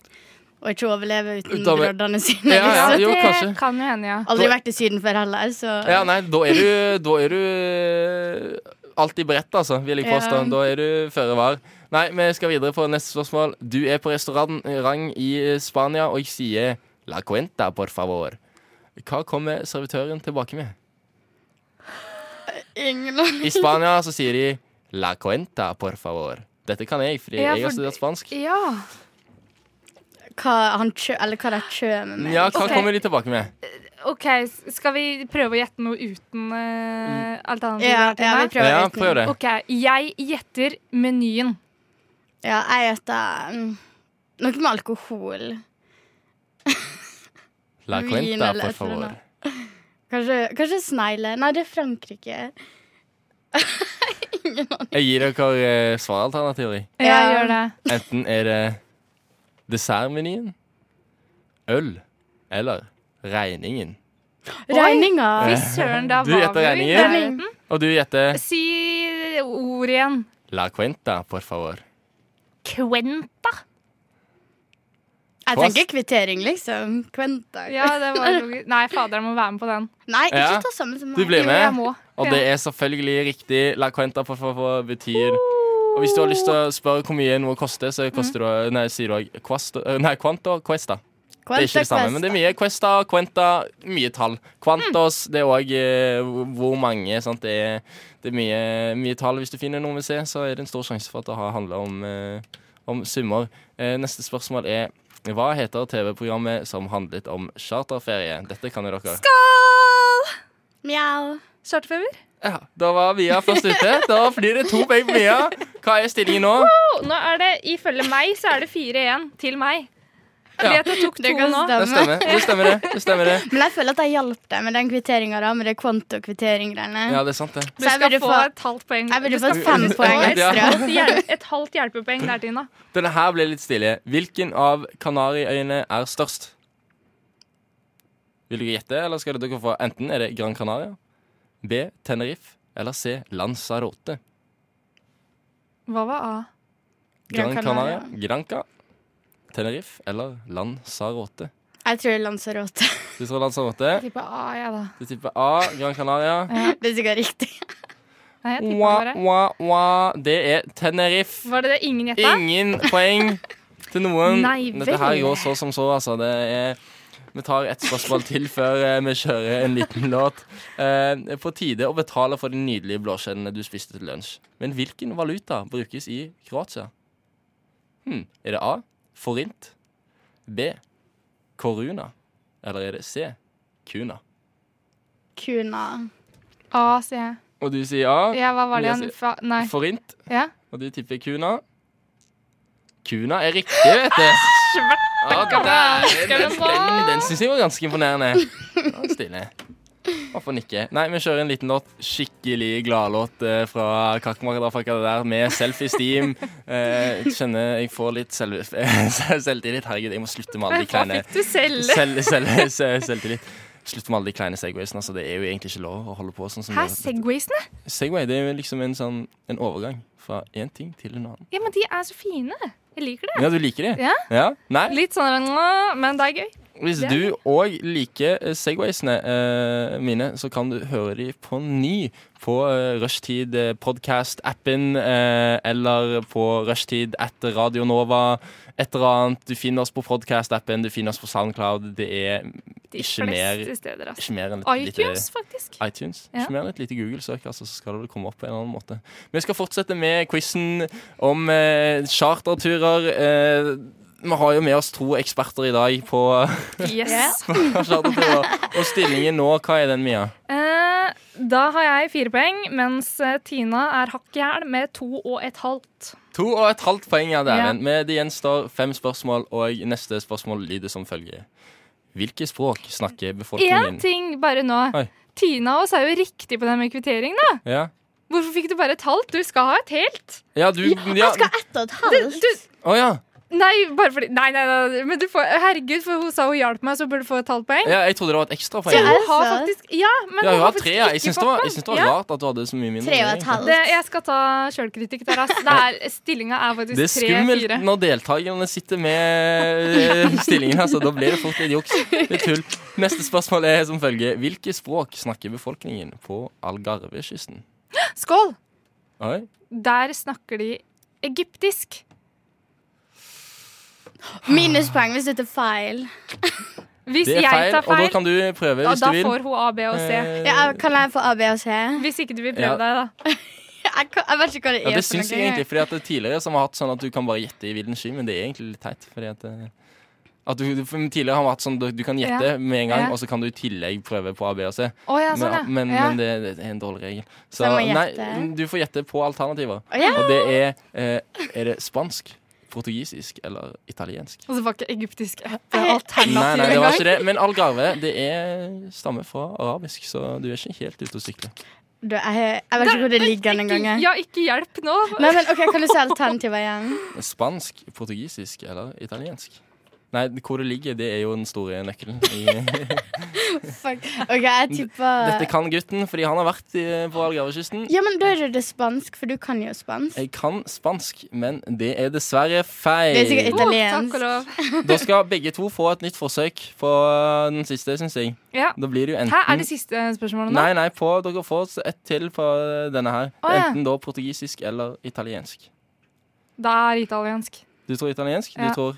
Og ikke overleve uten Da vet- broddene sine. Ja, ja, liksom. jo, det kanskje. kan jo hende, ja. Aldri vært i Syden før heller, så Ja, nei, da er du, da er du eh, alltid beredt, altså, vil jeg påstå. Ja. Da er du føre var. Nei, vi skal videre på neste spørsmål. Du er på restaurant rang i eh, Spania, og jeg sier La cuenta, por favor. Hva kommer servitøren tilbake med? ingen I Spania så sier de La cuenta, por favor. Dette kan jeg, fordi Ja, jeg har for- studert spansk. Ja. hva han kjø, Eller hva de kjører med. Ja, hva Ok. kommer de tilbake med? OK, s- skal vi prøve å gjette noe uten Mm. uh, alternativer? Ja, her til ja, vi meg? prøver Ja, uten. prøv det. OK, jeg gjetter menyen. Ja, jeg gjetter mm, noe med alkohol. La Vin cuenta, eller por et eller favor. annet. Kanskje, kanskje snegle. Nei, det er Frankrike. Jeg gir dere eh, svaralternativer. i. Ja, Ja. gjør det. Enten er det dessertmenyen, øl eller regningen. Regninga. Fy søren, da Du var gjetter vi i regninger. nærheten. Og du gjetter Si ord igjen. la cuenta, por favor. Quenta. Jeg tenker kvittering, liksom. Kventa. Ja, det var logisk. Nei, fader, jeg må være med på den. Nei, ikke Ja. ta sammen som Du meg. blir Jo, jeg med, må. og det er selvfølgelig riktig. La cuenta, por favor betyr Og hvis du har lyst til å spørre hvor mye noe koster, så koster det Nei, sier du også quasto- eh, Nei, quanto cuesta. Det er ikke det samme, men det er mye questa, quenta, mye tall. Quantos, det er òg hvor mange. Sant? Det er, det er mye, mye tall. Hvis du finner noe med C, så er det en stor sjanse for at det har handla om, eh, om summer. Eh, neste spørsmål er hva heter TV-programmet som handlet om charterferie? Dette kan jo dere. Skål! Mjau. Charterfeber? Ja, da var Mia først ute. Da blir det to poeng på Mia. Hva er stillingen nå? Oh, nå er det, Ifølge meg så er det fire igjen til meg. Fordi Ja. at jeg tok Det to kan nå. Det stemmer, stemme. det stemmer det. det, stemmer det. Men jeg føler at jeg hjalp deg med den kvitteringa, da, med det kvanto-kvittering-greiene. Ja, det er sant, det. Du Så jeg skal burde få få- et halvt poeng. jeg burde Du skal fått få fem et poeng halvt ekstra. hjelp- Et halvt hjelpepoeng der, Tina. Denne her ble litt stilig. Hvilken av Kanariøyene er størst? Vil dere gjette, eller skal dere få enten er det Gran Canaria, B. Tenerife eller C. Lanzarote? Hva var A? Gran Canaria. Granca, Tenerife eller Lanzarote? Jeg tror Lanzarote. Du tror Lanzarote? Jeg tipper A, jeg, da. Du tipper A. Gran Canaria. Det er sikkert riktig. Nei, jeg tipper Wa, bare. wa, wa. Det er Tenerife. Var det det ingen gjetta? Ingen poeng til noen. Nei vel. Dette her går så som så, altså. Det er, vi tar ett spørsmål til før eh, vi kjører en liten låt. Eh, på tide å betale for de nydelige blåskjellene du spiste til lunsj. Men hvilken valuta brukes i Kroatia? Hm, er det A. Forint? B. Koruna? Eller er det C. Kuna? Kuna. A, sier jeg. Og du sier A. Ja, hva var det Jeg igjen? sier- Fa- Nei. Forint. Ja. Og du tipper Kuna. Kuna er riktig, vet du. Ja, der, den, den, den, den syns jeg var ganske imponerende. Ja, Stilig. Hvorfor nikke? Nei, vi kjører en liten låt. Skikkelig gladlåt eh, fra Kakemakerdafakka der, med selfie-steam. Eh, jeg kjenner jeg får litt selv, selvtillit. Herregud, jeg må slutte med alle de kleine Fikk du selv? selv, selv, selv, selvtillit. Slutt med alle de kleine Segwaysene. Altså, det er jo egentlig ikke lov å holde på sånn som Hæ, det- Segwaysene? Segway det er jo liksom en sånn en overgang fra én ting til en annen. Ja, men de er så fine. Jeg liker det. Ja, du liker det? Ja. Nei? Litt sånn, «Mwah», men det er gøy. Hvis Det- du òg liker eh, Segwaysene eh, mine, så kan du høre de på ny på eh, Rushtid eh, podcast-appen eh, eller på Rushtid etter Radio Nova. Et eller annet. Du finner oss på podcast-appen, du finner oss på Soundcloud. Det er De Ikke fleste mer- steder. Altså. ikke mer enn et lite iTunes, faktisk. iTunes. Ja. Ikke mer enn et lite Google-søk, altså, så skal det vel komme opp på en eller annen måte. Vi skal fortsette med quizen om eh, charterturer. Eh, vi har jo med oss to eksperter i dag på Yes. Ja. charterturer. Og stillingen nå, hva er den, Mia? Eh, da har jeg fire poeng, mens eh, Tina er hakk i hæl med to og et halvt. To og et halvt poeng er det, Ja. Erlend. Med Det gjenstår fem spørsmål, og neste spørsmål lyder som følger. Hvilke språk snakker Én befolkningen din? ting bare nå. Oi. Tina og oss er jo riktig på den med kvitteringen. da. Ja. Hvorfor fikk du bare et halvt? Du skal ha et helt. ja, du ja. Jeg skal ha ett og et Du, halvt. du, Å ja. nei, bare fordi Nei, nei, nei. Men du får, herregud, for hun sa hun hjalp meg, så burde du få et halvt poeng. ja. Jeg trodde det var et Så ekstrapoeng. hun Altså. har faktisk Ja, men Ja, hun har faktisk tre. ja. Jeg ikke syns det var, fått jeg den. syns det var Ja. rart at du hadde så mye mindre. Tre og egentlig. et halvt. Det, jeg skal ta sjølkritikk der, ass. Det er, stillinga er faktisk Det er skummelt tre-fire. når deltakerne sitter med eh, stillingen. Altså. Da blir det fort litt juks. Det er tull. Neste spørsmål er som følger. Hvilke språk snakker befolkningen på Algarvekysten? Skål! Oi. Der snakker de egyptisk. Minuspoeng hvis dette er feil. Hvis Det er jeg feil, tar og da feil, kan du prøve da, hvis du vil. får hun A, B og C. Eh, Ja, kan jeg få A, B og C? Jeg, Hvis ikke du vil Ja. prøve deg, da. kan, jeg vet ikke hva det ja, er. det for syns noe. jeg egentlig, fordi at det er tidligere som har hatt sånn at du kan bare gjette i villen sky, men det er egentlig litt teit. Fordi at, eh, at du, for tidligere har vi hatt sånn du, du kan gjette Ja. med en gang, Ja. og så kan du i tillegg prøve på A, B og C. Å ja, sånn, Men, ja. men, ja. men det, det er en dårlig regel. Så, Så jeg må nei, gjette? du får gjette på alternativer. Å, ja. Og det er eh, Er det spansk, portugisisk eller italiensk? Og så Altså, var ikke egyptisk et Nei, alternativ Nei, nei, det var ikke engang. det. Men algarve det er stammer fra arabisk, så du er ikke helt ute å sykle. Du, jeg, jeg vet ikke hvor det ligger den gangen. Ja, ikke hjelp nå. Nei, men ok, Kan du si alternativer igjen? Spansk, portugisisk eller italiensk? Nei, hvor det ligger, det er jo den store nøkkelen. I, Fuck. Ok, jeg dette tipper kan gutten, fordi han har vært i- på algarvekysten. Ja, men Da er det det spansk, for du kan jo spansk. Jeg kan spansk, men det er dessverre feil. Det er sikkert Å, Italiensk. takk og lov. Da skal begge to få et nytt forsøk på eh, den siste, syns jeg. Ja. Da blir det jo enten Her er det siste spørsmålet nå. Nei, nei, på, dere får et til på denne her. Å, ja. Enten da portugisisk eller italiensk. Det er italiensk. Du tror italiensk? Ja. Du tror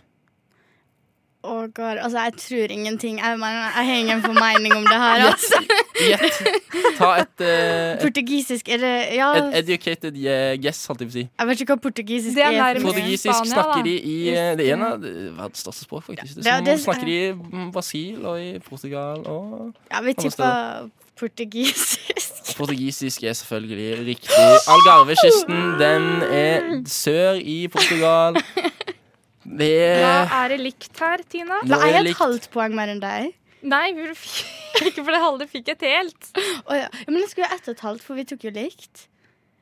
Å, God. Altså, jeg tror ingenting. Jeg, mener, jeg har ingen formening om det her. Altså. Gjett! Ta et, eh, et, Portugisisk er det Ja, et educated eh, guess, holdt jeg på å si. jeg vet ikke hva portugisisk Det er nærmere. for noe. Portugisisk Spania, snakker da. de i eh, Det er en av verdens største språk, faktisk. Det, Ja, som det- eh. snakker de i mm, Brasil og i Portugal og Ja, vi Alle tipper portugisisk. Portugisisk er selvfølgelig riktig. Algarvekysten, den er sør i Portugal. Det Da er er det likt her, Tina. Nå Da er er jeg likt. et halvt poeng mer enn deg. Nei, for du fikk ikke for det halve fikk et helt. Å, ja. Ja, Men jeg skulle ha ett og et halvt, for vi tok jo likt.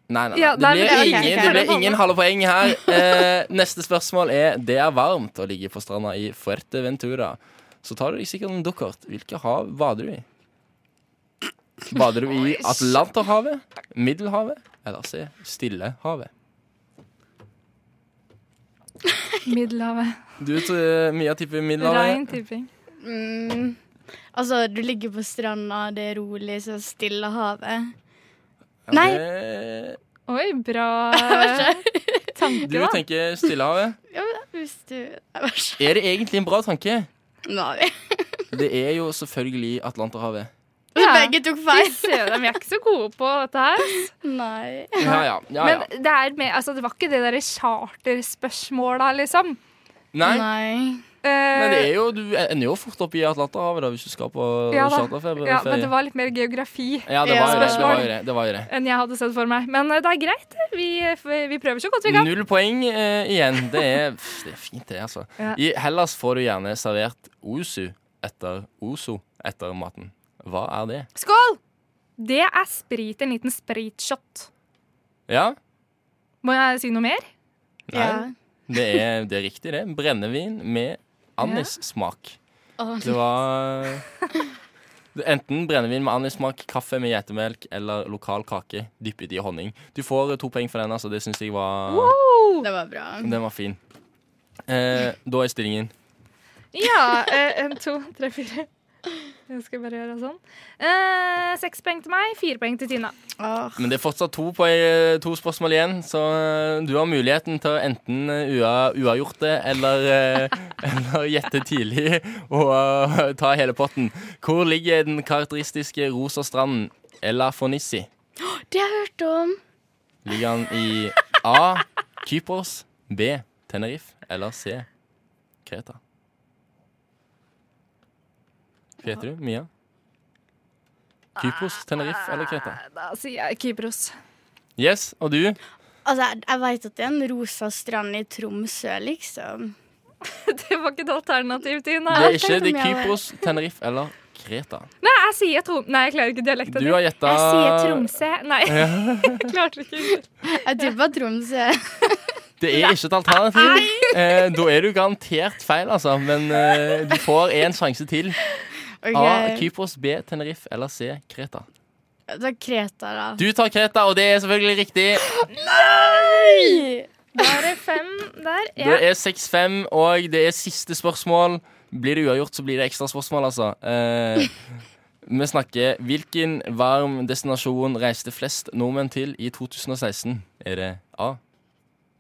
Nei, nei, nei. Ja, det, nei, blir men- ok, ingen, ok. det blir ingen halve poeng her. Eh, neste spørsmål er Det er varmt å ligge på stranda i Fuerteventura. Så tar du deg sikkert en dukkert. Hvilke hav bader du i? Bader du i Atlanterhavet, Middelhavet eller C. Stillehavet? Middelhavet. Du tror Mia tipper Rein Middelhavet. tipping. Mm. Altså, du ligger på stranda, det er rolig, så stille havet. Nei. det- Oi, bra tanke, Du da. tenker Stillehavet. Ja, men hvis du sånn, Vær så Er det egentlig en bra tanke? snill. Det er jo selvfølgelig Atlanterhavet. Ja. Begge tok Fy feil. søren, vi er ikke så gode på dette her. Nei. Ja, ja. ja, ja. Men det, er mer- altså, det var ikke det derre charterspørsmåla, liksom. Nei. Men det Eh, er jo, du ender jo fort opp i Atlanterhavet da, hvis du skal på Ja da. charterferie. ja, men det var litt mer geografi Ja, det Ja. var jo det. det, Spørsmål. var jo det, det, var jo det. enn jeg hadde sett for meg. Men eh, det er greit. Vi, eh, vi prøver så godt vi kan. Null poeng eh, igjen. Det er, pff, det er fint, det, altså. Ja. I Hellas får du gjerne servert osu etter oso etter maten. Hva er det? Skål! Det er sprit. En liten spritshot. Ja, Må jeg si noe mer? Nei. det er, det er riktig, det. Brennevin med annissmak. Ja. Å, Det var Enten brennevin med anissmak, kaffe med geitemelk eller lokal kake dyppet i honning. Du får to poeng for den, altså. Det syns jeg var Det var bra. Den var fin. Eh, da er stillingen Ja. eh, En, to, tre, fire. Jeg skal bare gjøre sånn. Eh, seks poeng til meg, fire poeng til Tina. Åh, Men det er fortsatt to, på, eh, to spørsmål igjen, så eh, du har muligheten til å enten eh, ua, uavgjort det eller, eh, eller gjette tidlig og eh, ta hele potten. Hvor ligger den karakteristiske rosa stranden Ella Fonissi? det har jeg hørt om. Ligger den i A. Kypros, B. Tenerife eller C. Kreta? Hva heter du, Mia? Kypros, Tenerife eller Kreta? Eh, Da sier jeg Kypros. Yes, og du? Altså, jeg- jeg veit at det er en rosa strand i Tromsø, liksom. Det var ikke et alternativ, Tina. Det er ikke tenkte det er meg over. Kypros, Tenerife eller Kreta. Nei, jeg sier Trom... Nei, jeg klarer ikke dialekta Du har gjetta Jeg sier Tromsø. Nei, jeg klarte ikke. Jeg tippa Tromsø. Det er ikke et alternativ. Eh, da er du garantert feil, altså. Men eh, du får én sjanse til. A. Ok, Kypros, B. Tenerife eller C. Kreta. Da Kreta, da. Du tar Kreta, og det er selvfølgelig riktig. Nei! Da er det fem der. Det Ja. er 6-5, og det er siste spørsmål. Blir det uavgjort, så blir det ekstra spørsmål, altså. Eh, vi snakker Hvilken varm destinasjon reiste flest nordmenn til i 2016? Er det A?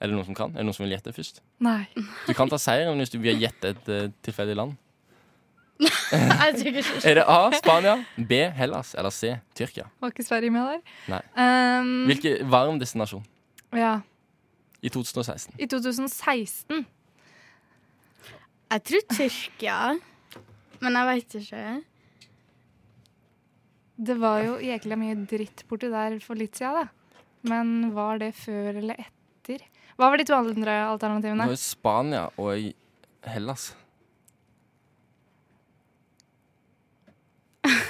Er det noen som kan? Er det noen som vil gjette først? Nei. Du kan ta seieren hvis du vil gjette et eh, tilfeldig land. Jeg tror ikke Er det A. Spania, B. Hellas eller C. Tyrkia? Var ikke Sverige med der? Nei. Um, Hvilken varm destinasjon Ja. i 2016? I 2016. Jeg tror Tyrkia, men jeg veit ikke. Det var jo jækla mye dritt borti der for litt siden, da. Men var det før eller etter? Hva var de to andre Det alternativene? var Spania og Hellas.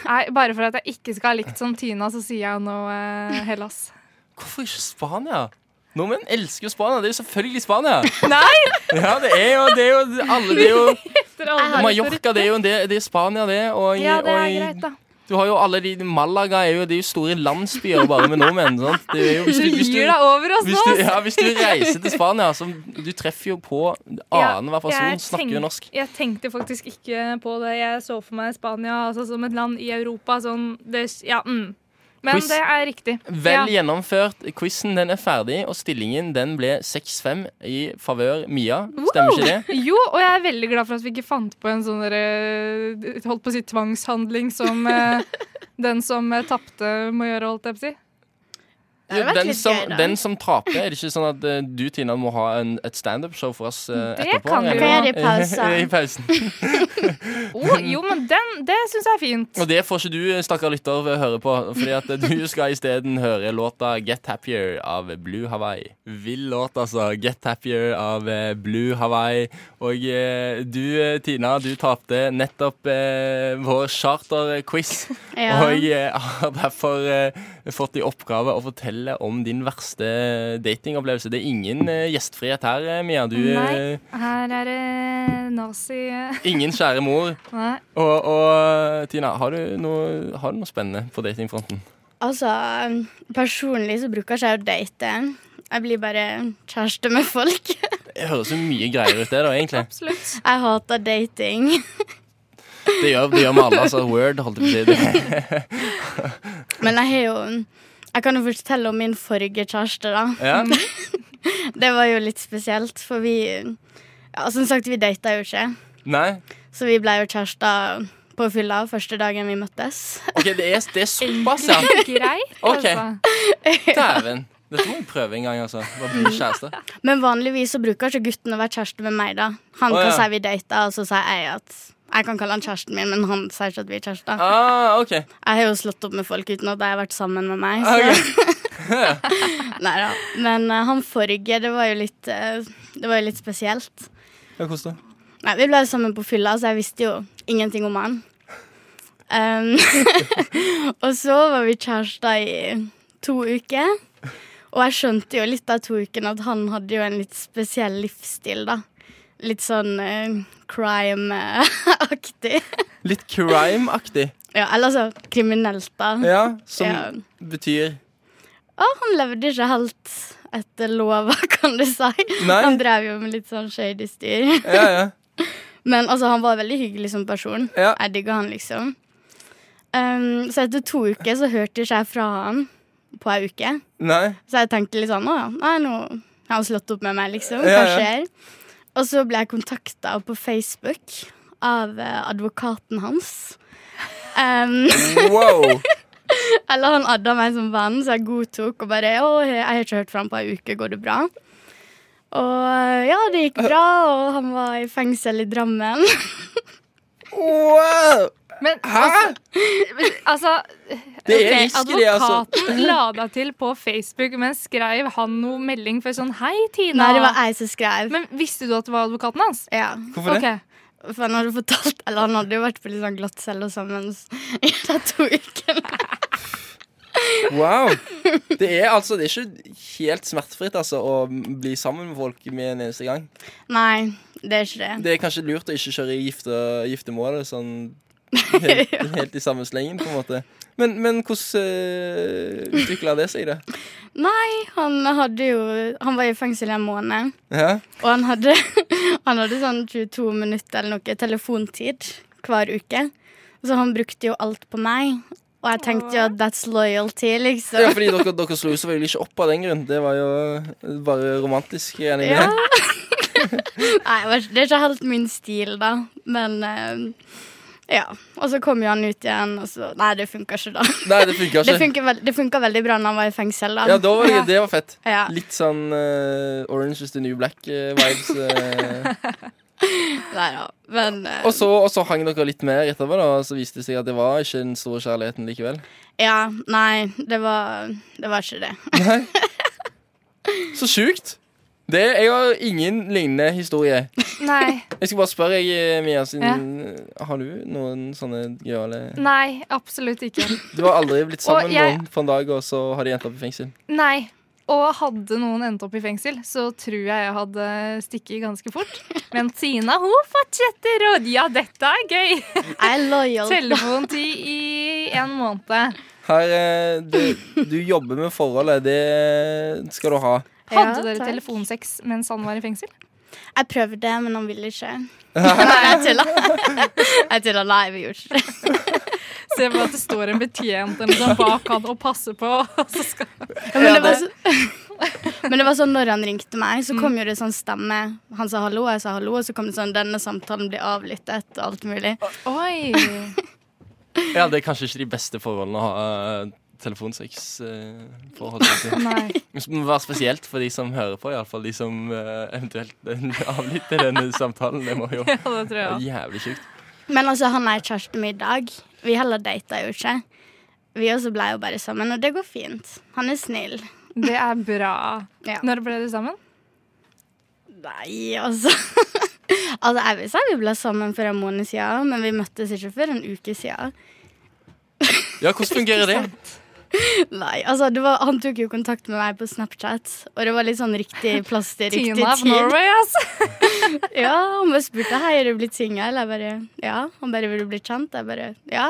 Nei, Bare for at jeg ikke skal ha likt som Tina, så sier jeg nå eh, Hellas. Hvorfor ikke Spania? Nordmenn elsker jo Spania. Det er jo selvfølgelig Spania. Nei! Ja, det er jo, det er jo alle det er jo, Etter alle Mallorca det er jo en del, det er Spania, det. Og, Ja, det er og- greit, da. Du har jo alle de Malaga er jo, det er jo store landsbyer bare med nordmenn. Sant? Det er jo, hvis Du du- hvis du- gir deg over oss hvis nå! altså. du, ass. ja, hvis du reiser til Spania, så du treffer jo på annenhver person jeg som snakker tenk- jo norsk. Jeg tenkte faktisk ikke på det. Jeg så for meg Spania altså, som et land i Europa. Sånn, det, ja, mm. Men Quiz. det er riktig. Vel ja. gjennomført. Quizen den er ferdig, og stillingen den ble 6-5 i favør Mia. Stemmer ikke det? Jo, og jeg er veldig glad for at vi ikke fant på en sånn derre eh, Holdt på å si tvangshandling som eh, den som eh, tapte, må gjøre, holdt jeg på å si. Det hadde vært Den litt som, gøy, da. den som taper, er det ikke sånn at eh, du, Tina, må ha en, et standup-show for oss eh, Det etterpå? kan vi eller? jo. Kan jeg gjøre i pausen? I pausen. Å, jo, men den, det syns jeg er fint. Og det får ikke du, eh, stakkar lytter, høre på, fordi at eh, du skal isteden høre låta Get Happier av Blue Hawaii. Vill låt, altså. Get Happier av eh, Blue Hawaii. Og eh, du, eh, Tina, du tapte nettopp eh, vår charterquiz. Ja. Og jeg har derfor eh, fått i oppgave å fortelle om din verste datingopplevelse. Det er ingen eh, gjestfrihet her, eh, Mia. Du, eh, Nei, her er det nazi... eh, ingen kjære mor. Nei. Og, og eh, Tina, har du, noe, har du noe spennende på datingfronten? Altså, personlig så bruker ikke jeg å date. Jeg blir bare kjæreste med folk. Det høres jo mye greier ut, det, da, egentlig. Absolutt. Jeg hater dating. Det gjør, det gjør vi alle. altså Word, holdt jeg på å si. Men jeg har jo Jeg kan jo fortelle om min forrige kjæreste, da. Ja. Det var jo litt spesielt, for vi ja, Som sagt, vi data jo ikke. Nei. Så vi ble jo kjærester på fylla første dagen vi møttes. OK, det er, det er såpass, ja. Greit, Ok. altså. Dæven. Dette må jeg prøve en gang, altså. Bare bli kjæreste. Men vanligvis så bruker ikke gutten å være kjæreste med meg, da. Han Å, kan ja. si vi data, og så sier jeg at Jeg kan kalle han kjæresten min, men han sier ikke at vi er kjærester. Ah, OK. Jeg har jo slått opp med folk uten at de har vært sammen med meg. Så. Ok. Nei da. Men eh, han forrige, det var jo litt eh, Det var jo litt spesielt. Ja, Hvordan da? Nei, Vi ble jo sammen på fylla, så jeg visste jo ingenting om han. Em, og så var vi kjærester i to uker. Og jeg skjønte jo litt av to ukene at han hadde jo en litt spesiell livsstil, da. Litt sånn eh, crime-aktig. Litt crime-aktig. Ja, eller så kriminelt, da. Ja, som Ja. betyr Å, han levde ikke helt etter lova, kan du si. Nei. Han drev jo med litt sånn shady styr. Ja, ja. Men altså, han var veldig hyggelig som person. Ja. Jeg digga han, liksom. Um, så etter to uker så hørte ikke jeg fra han på ei uke. Nei. Så jeg tenkte litt sånn Å ja, nei, nå har han slått opp med meg, liksom. Ja, Hva ja. skjer? Og så ble jeg kontakta på Facebook av eh, advokaten hans. Um, Wow. eller han adda meg som venn, så jeg godtok og bare Å, jeg har ikke hørt fra han på ei uke, går det bra? Og ja, det gikk bra, og han var i fengsel i Drammen. wow. Men altså, altså Det er ok, risky, det, altså. Advokaten la deg til på Facebook, men skrev han noe melding for sånn Hei, Tina. Nei, det var jeg som skrev. Men visste du at det var advokaten hans? ja. Hvorfor det? Ok. For han hadde fortalt Eller han hadde jo vært på litt sånn glattcelle og sammen i de to ukene. Wow. Det er altså det er ikke helt smertefritt altså, å bli sammen med folk med en eneste gang. Nei, det er ikke det. Det er kanskje lurt å ikke kjøre i gifte, giftermålet sånn helt, helt i samme slengen, på en måte. Men, men hvordan uh, utvikla det seg, da? Nei, han hadde jo Han var i fengsel i en måned, Ja. og han hadde, han hadde sånn 22 minutter eller noe telefontid hver uke. Så han brukte jo alt på meg, og jeg tenkte jo at that's loyalty, Ja, liksom. fordi dere, dere slo jo selvfølgelig ikke opp av den grunn. Det var jo bare romantisk. er det ikke Ja. det? Nei, jeg vet ikke, det er ikke helt min stil, da, men eh, ja. Og så kom jo han ut igjen, og så Nei, det funka ikke, da. Nei, det funka Det ikke. funka, vel- det funka veldig bra når han var i fengsel. Da. Ja, da var det, det var fett. Ja. Litt sånn eh, Orange is the New eh, Black-vibes. Nei da. Men eh, eh. og, så, og så hang dere litt mer etterpå, da, og så viste det seg at det var ikke den store kjærligheten likevel. Ja, nei, det var, det var ikke det. Så sjukt! Det, jeg har ingen lignende historie. Nei. Jeg skal bare spørre, jeg, eh, Mia, siden eh, Har du noen sånne gøyale Nei, absolutt ikke. Du har aldri blitt sammen Og med jeg- noen på en dag, og så har de endt opp i fengsel? Nei. Og hadde noen endt opp i fengsel, så tror jeg jeg hadde stikket ganske fort. Men Tina, hun fortsetter, og ja, dette er gøy! Jeg er lojal. Telefontid i en måned. Her, eh, du, du jobber med forholdet. Det skal du ha. Hadde Ja, dere takk. telefonsex mens han var i fengsel? Jeg prøvde, men han ville ikke. Nei, jeg tulla. Jeg tulla. Nei, vi gjorde ikke det. Se for deg at det står en betjent eller noe sånt bak han og passer på. Og så skal... Men det, var så, men det var sånn når han ringte meg, så kom jo det sånn stemme. Han sa hallo, jeg sa hallo, og så kom det sånn 'denne samtalen blir avlyttet' og alt mulig. Oi! Ja, det er kanskje ikke de beste forholdene å ha eh, telefonsex eh, forhold til. Nei. Men Det må være spesielt for de som hører på, iallfall de som eh, eventuelt avlytter denne samtalen. Det må jo Ja, det tror være jeg. jævlig kjipt. Men altså, han er kjæresten min i dag. Vi heller data jo ikke. Vi også blei jo bare sammen, og det går fint. Han er snill. Det er bra. Ja. Når ble dere sammen? Nei, altså Altså, jeg vil si vi ble sammen for en måned siden, men vi møttes ikke før en uke siden. Ja, hvordan fungerer det? Nei, altså, det var, han tok jo kontakt med meg på Snapchat, og det var litt sånn riktig plass til riktig Tina of tid. Norway, altså! Ja, han bare spurte hei, er du blitt singel. Jeg bare ja. Han bare vil du bli kjent. Jeg bare ja.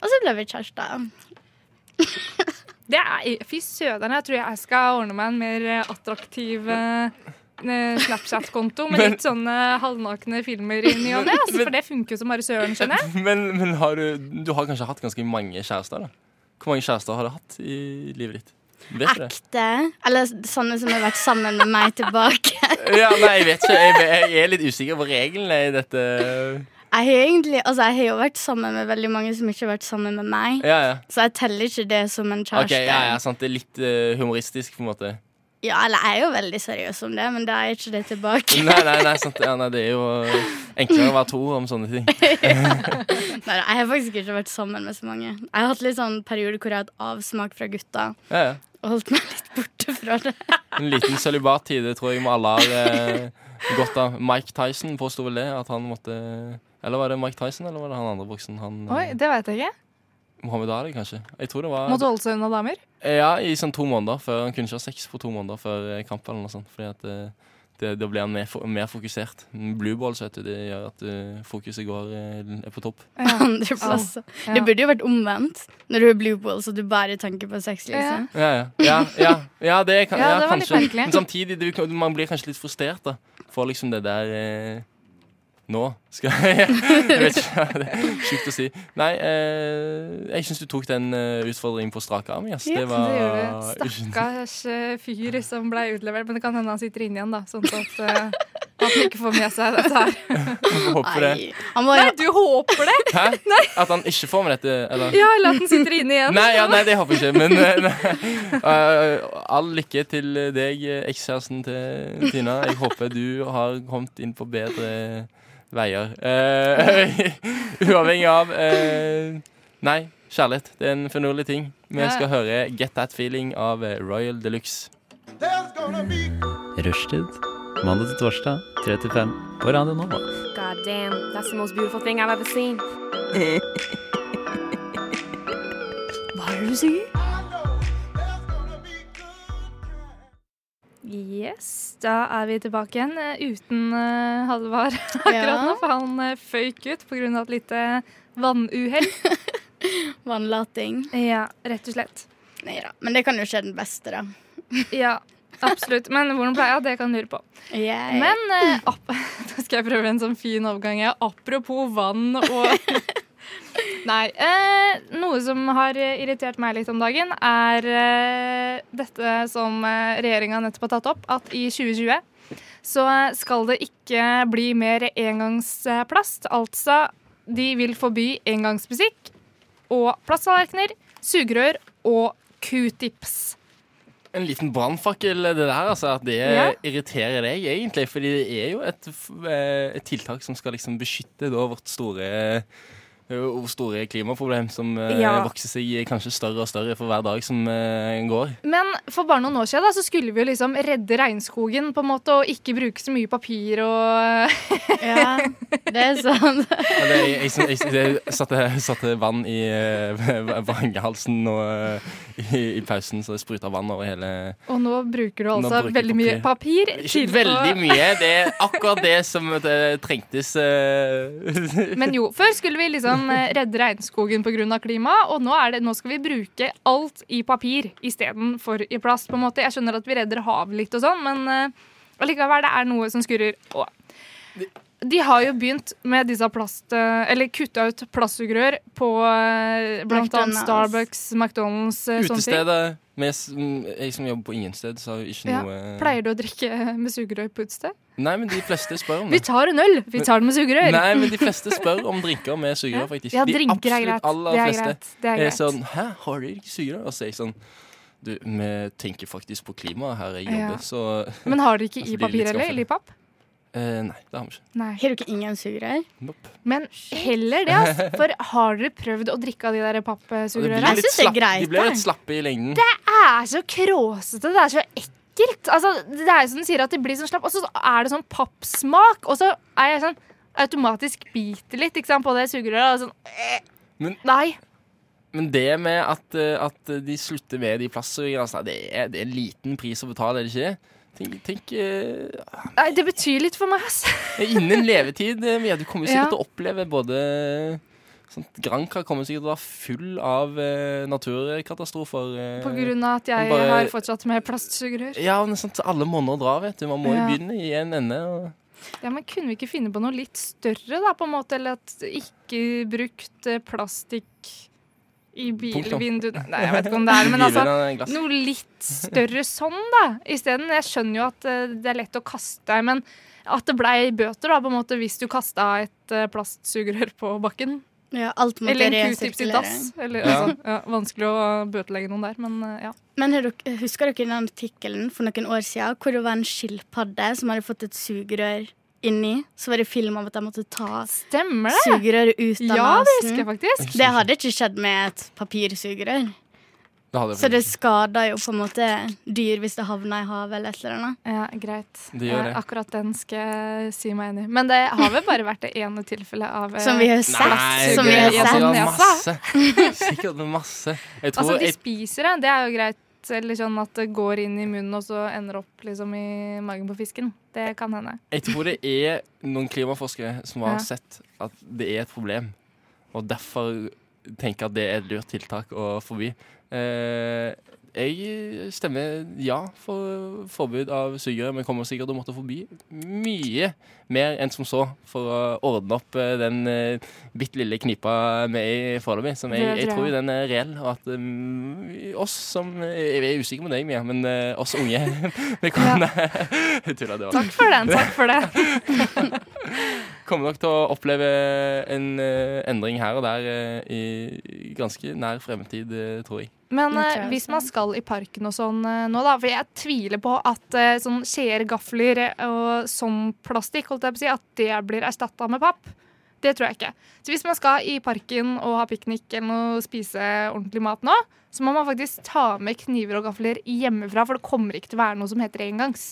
Og så ble vi kjærester. Det er, fy søderen, jeg tror jeg skal ordne meg en mer eh, attraktiv eh, eh, Snapchat-konto med Men- litt sånne halvnakne filmer i ny og ne. Altså, for det funker jo som bare søren, skjønner jeg. Men, men har du, du har kanskje hatt ganske mange kjærester? da Hvor mange kjærester har du hatt i livet ditt? Vet du det? Ekte. Eller sånne som har vært sammen med meg tilbake. Ja, nei, jeg vet ikke. Jeg, jeg er litt usikker på reglene i dette. Jeg har egentlig, altså, jeg har jo vært sammen med veldig mange som ikke har vært sammen med meg. Ja, ja. Så jeg teller ikke det som en Ok, kjæreste. ja, ja, sant. Det er litt eh, humoristisk, på en måte. Ja, eller jeg er jo veldig seriøs om det, men da er ikke det tilbake. Nei, nei, nei, sant. Ja, nei det er jo enklere å være to om sånne ting. Nei, jeg har faktisk ikke vært sammen med så mange. Jeg har hatt litt sånn periode hvor jeg har hatt avsmak fra gutta Ja, ja. og holdt meg litt borte fra det. En liten sølibattid, det tror jeg vi alle har eh, godt av. Mike Tyson påsto vel det, at han måtte Eller var det Mike Tyson, eller var det han andre boksen? Han, eh, Oi, det vet jeg ikke. Muhammad Ali, kanskje? Jeg tror det var Måtte holde seg unna damer. Ja, i sånn to måneder før Han kunne ikke ha sex på to måneder før eh, kamp eller noe sånt, fordi at eh, det, da blir han mer, fo- mer fokusert. Blue balls vet du, det gjør at eh, fokuset går, eh, er på topp. Ja. Andreplass. Ja. Det burde jo vært omvendt, når du er blue ball, så du bare tenker på sex, liksom. Ja, ja. ja, ja, ja det kan Ja, ja, det var litt kanskje. merkelig. Men samtidig, du, kan- man blir kanskje litt frustrert da for liksom det der eh, Nå skal jeg Jeg vet ikke, det er sjukt å si. Nei, eh, jeg syns du tok den eh, utfordringen på strak arm. Yes. Ja, Det var det gjør du. Stakkars eh, fyr som ble utlevert. Men det kan hende han sitter inne igjen, da. Sånn at eh, han ikke får med seg dette her. Jeg Håper det. Nei, han var Nei, du håper det? Hæ? At han ikke får med dette? Eller? Ja, eller at han sitter inne igjen. Nei, ja, nei, det håper jeg ikke. Men eh, nei. Eh, all lykke til deg, eh, ekskjæresten til Tina. Jeg håper du har kommet inn på bedre veier. Eh, uavhengig av eh, Nei, kjærlighet. Det er en finurlig ting. Vi Ja. skal høre Get That Feeling av eh, Royal Deluxe. There's gonna be Rushtid. Mandag til torsdag, 3 til 5 på Radio Nova. God damn, that's the most beautiful thing I've ever seen. Yes, da er vi tilbake igjen eh, uten eh, Halvard akkurat nå, for han eh, føyk ut pga. et lite vannuhell. vannlating. Ja, rett og slett. Nei da. Men det kan jo skje den beste, da. Ja, absolutt. Men hvordan ble jeg? Det kan du lure på. Yay. Men eh, ap da skal jeg prøve en sånn fin overgang. Ja. Apropos vann og Nei. Eh, noe som har eh, irritert meg litt om dagen, er eh, dette som eh, regjeringa nettopp har tatt opp, at i 2020 så eh, skal det ikke bli mer engangsplast. Altså, de vil forby engangsmusikk og plasttallerkener, sugerør og q-tips. En liten brannfakkel, det der, altså. At det Ja. irriterer deg, egentlig. Fordi det er jo et, f- eh, et tiltak som skal liksom beskytte da vårt store eh, vårt store klimaproblem som eh, Ja. vokser seg kanskje større og større for hver dag som eh, går. Men for bare noen år siden da, så skulle vi jo liksom redde regnskogen på en måte, og ikke bruke så mye papir og Ja, det er sant. Men det, jeg, jeg, jeg, jeg satte, satte vann i eh, vangehalsen nå eh, i, i pausen, så det spruta vann over hele Og nå bruker du Nå altså bruker jeg veldig mye papir. Ikke til å- veldig mye. Det er akkurat det som det trengtes. eh, Men jo, før skulle vi liksom eh, redde regnskogen pga. klimaet, og nå, er det, nå skal vi bruke alt i papir istedenfor i plast. på en måte. Jeg skjønner at vi redder havet litt og sånn, men eh, allikevel, det er noe som skurrer. Og de har jo begynt med disse plast... eh, Eller kutta ut plastsugerør på eh, blant annet McDonald's. Starbucks, McDonald's, eh, sånne ting. Utestedet med, s- m, Jeg som jobber på ingen sted, så har jo ikke Ja, noe eh, Pleier du å drikke med sugerør på utested? Nei, men de fleste spør om Vi det. tar en øl! Vi tar den med sugerør. Nei, men de fleste spør om drinker med sugerør, faktisk. Ja, de drinker er absolutt greit. aller Det er fleste greit. Det er er greit. sånn Hæ, har dere ikke sugerør? Og så er jeg sånn Du, vi tenker faktisk på klimaet her jeg Ja. jobber, så Men har de ikke Altså, de er i litt papir heller? skaffede. Eller i papp? eh, Nei, det har vi ikke. Nei. Har du ikke ingen sugerør? Nope. Men heller det, altså. For har dere prøvd å drikke av de der Og de blir pappsugerørene? litt synes det er slapp- greit, De blir det. litt slappe i lengden. Det er så kråsete. Det er så ekkelt. Altså, det er jo som de sier, at det blir sånn slapp. Og så er det sånn pappsmak. Og så er jeg sånn automatisk biter litt ikke sant, på det sugerøret. Og sånn eh, Men- Nei. Men det med at, eh, at de slutter med de plastsugerørene, altså, det, er- det er en liten pris å betale, er det ikke? Tenk, tenk eh, Nei, det betyr litt for meg, ass. Innen levetid, eh, Mia, du kommer jo Ja. sikkert til å oppleve både sånt, Granca kommer sikkert til å være full av eh, naturkatastrofer. eh. På grunn av at Men jeg bare- har fortsatt med plastsugerør. Ja, men sånt, alle monner drar, vet du. Man må jo Ja. begynne i en ende. Og... Ja, men kunne vi ikke finne på noe litt større, da, på en måte? Eller at ikke brukt eh, plastikk i Punktum. bilvinduene Nei, jeg vet ikke om det er det, men altså Livene er glass. noe litt større sånn, da. Isteden. Jeg skjønner jo at eh, det er lett å kaste, men at det blei bøter, da, på en måte, hvis du kasta et eh, plastsugerør på bakken. Ja, alt måtte Eller en q-tips i resirkulere. dass. Eller, Ja. altså, ja, vanskelig å bøtelegge noen der, men eh, ja. Men har dere- husker dere den artikkelen for noen år siden hvor det var en skilpadde som hadde fått et sugerør inni? Så var det film om at de måtte ta Stemmer det? sugerøret ut av Ja, det husker jeg nasen. faktisk. Det hadde ikke skjedd med et papirsugerør. Det hadde jeg Så det faktisk. skader jo på en måte dyr hvis det havner i havet eller et eller annet. Ja, greit. Det gjør Eh, det. Akkurat den skal jeg si meg enig i. Men det har vel bare vært det ene tilfellet av eh, Som vi har sett. Nei, som det vi er har altså sett. sikkert sett. masse. Sikkert masse. Jeg tror Altså, de jeg, spiser det, det er jo greit ut, eller sånn at det går inn i munnen og så ender opp liksom i magen på fisken. Det kan hende. Jeg tror det er noen klimaforskere som har Ja. sett at det er et problem, og derfor tenker at det er et lurt tiltak å forby. Eh, jeg stemmer ja for forbud av sugerør, men kommer sikkert til å måtte forby mye mer enn som så for å ordne opp eh, den eh, bitte lille knipa vi er i foreløpig. Som jeg, Det jeg tror tror jeg. den er reell, og at mm, oss som eh, Jeg er usikker med deg, Mia, men eh, oss unge Vi kommer Tulla, det var Takk for den, takk for det. kommer nok til å oppleve en eh, endring her og der eh, i ganske nær fremtid, eh, tror jeg. Men Nå tror eh, jeg hvis også. man skal i parken og sånn eh, nå, da, for jeg tviler på at eh, sånn skjeer, gafler eh, og sånn plastikk, holdt jeg på å si, at det blir erstatta med papp. Det tror jeg ikke. Så hvis man skal i parken og ha piknik eller noe, spise ordentlig mat nå, så må man faktisk ta med kniver og gafler hjemmefra, for det kommer ikke til å være noe som heter engangs.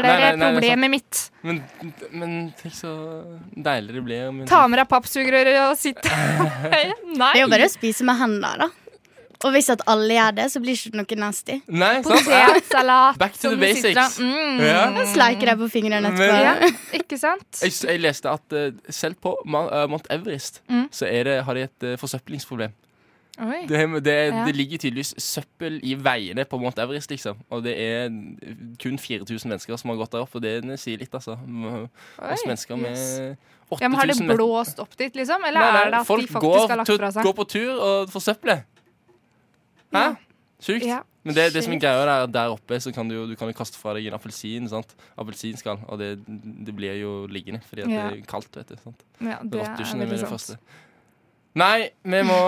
Nei, nei, dere nei, nei, det er sant. problemet mitt? Men, men tenk så deilig det blir. Men, Ta med deg pappsugerøret og sitt Nei. Det er jo bare å spise med hendene, da. Og hvis at alle gjør det, så blir det ikke noe nasty. Nei, sant? Potetsalat. Back to som the du sitter basics. og- Mm. Ja. Sleike deg på fingrene Men- etterpå. Ja, ikke sant? Jeg, s- jeg leste at eh, selv på Ma eh, Mount Everest Mm. så er det, har de et eh, forsøplingsproblem. Oi. Det, det, Ja. det ligger tydeligvis søppel i veiene på Mount Everest, liksom. Og det er kun 4000 mennesker som har gått der opp, og det sier litt, altså. Oss Oi. mennesker med Yes. 8000 Ja, men Har det mennesker. blåst opp dit, liksom? Eller Nei, nei, er det at folk de faktisk går, har lagt tu- fra seg? går på tur og forsøpler. Hæ? Sjukt. Ja. Men det, det som er greia der, der oppe, så kan du, jo- du kan jo kaste fra deg en appelsin. sant? Appelsinskall. Og det, det blir jo liggende, fordi at Ja. det er kaldt. vet du, sant? Ja, det er Rottdusjene med veldig det sant. første. Nei, vi må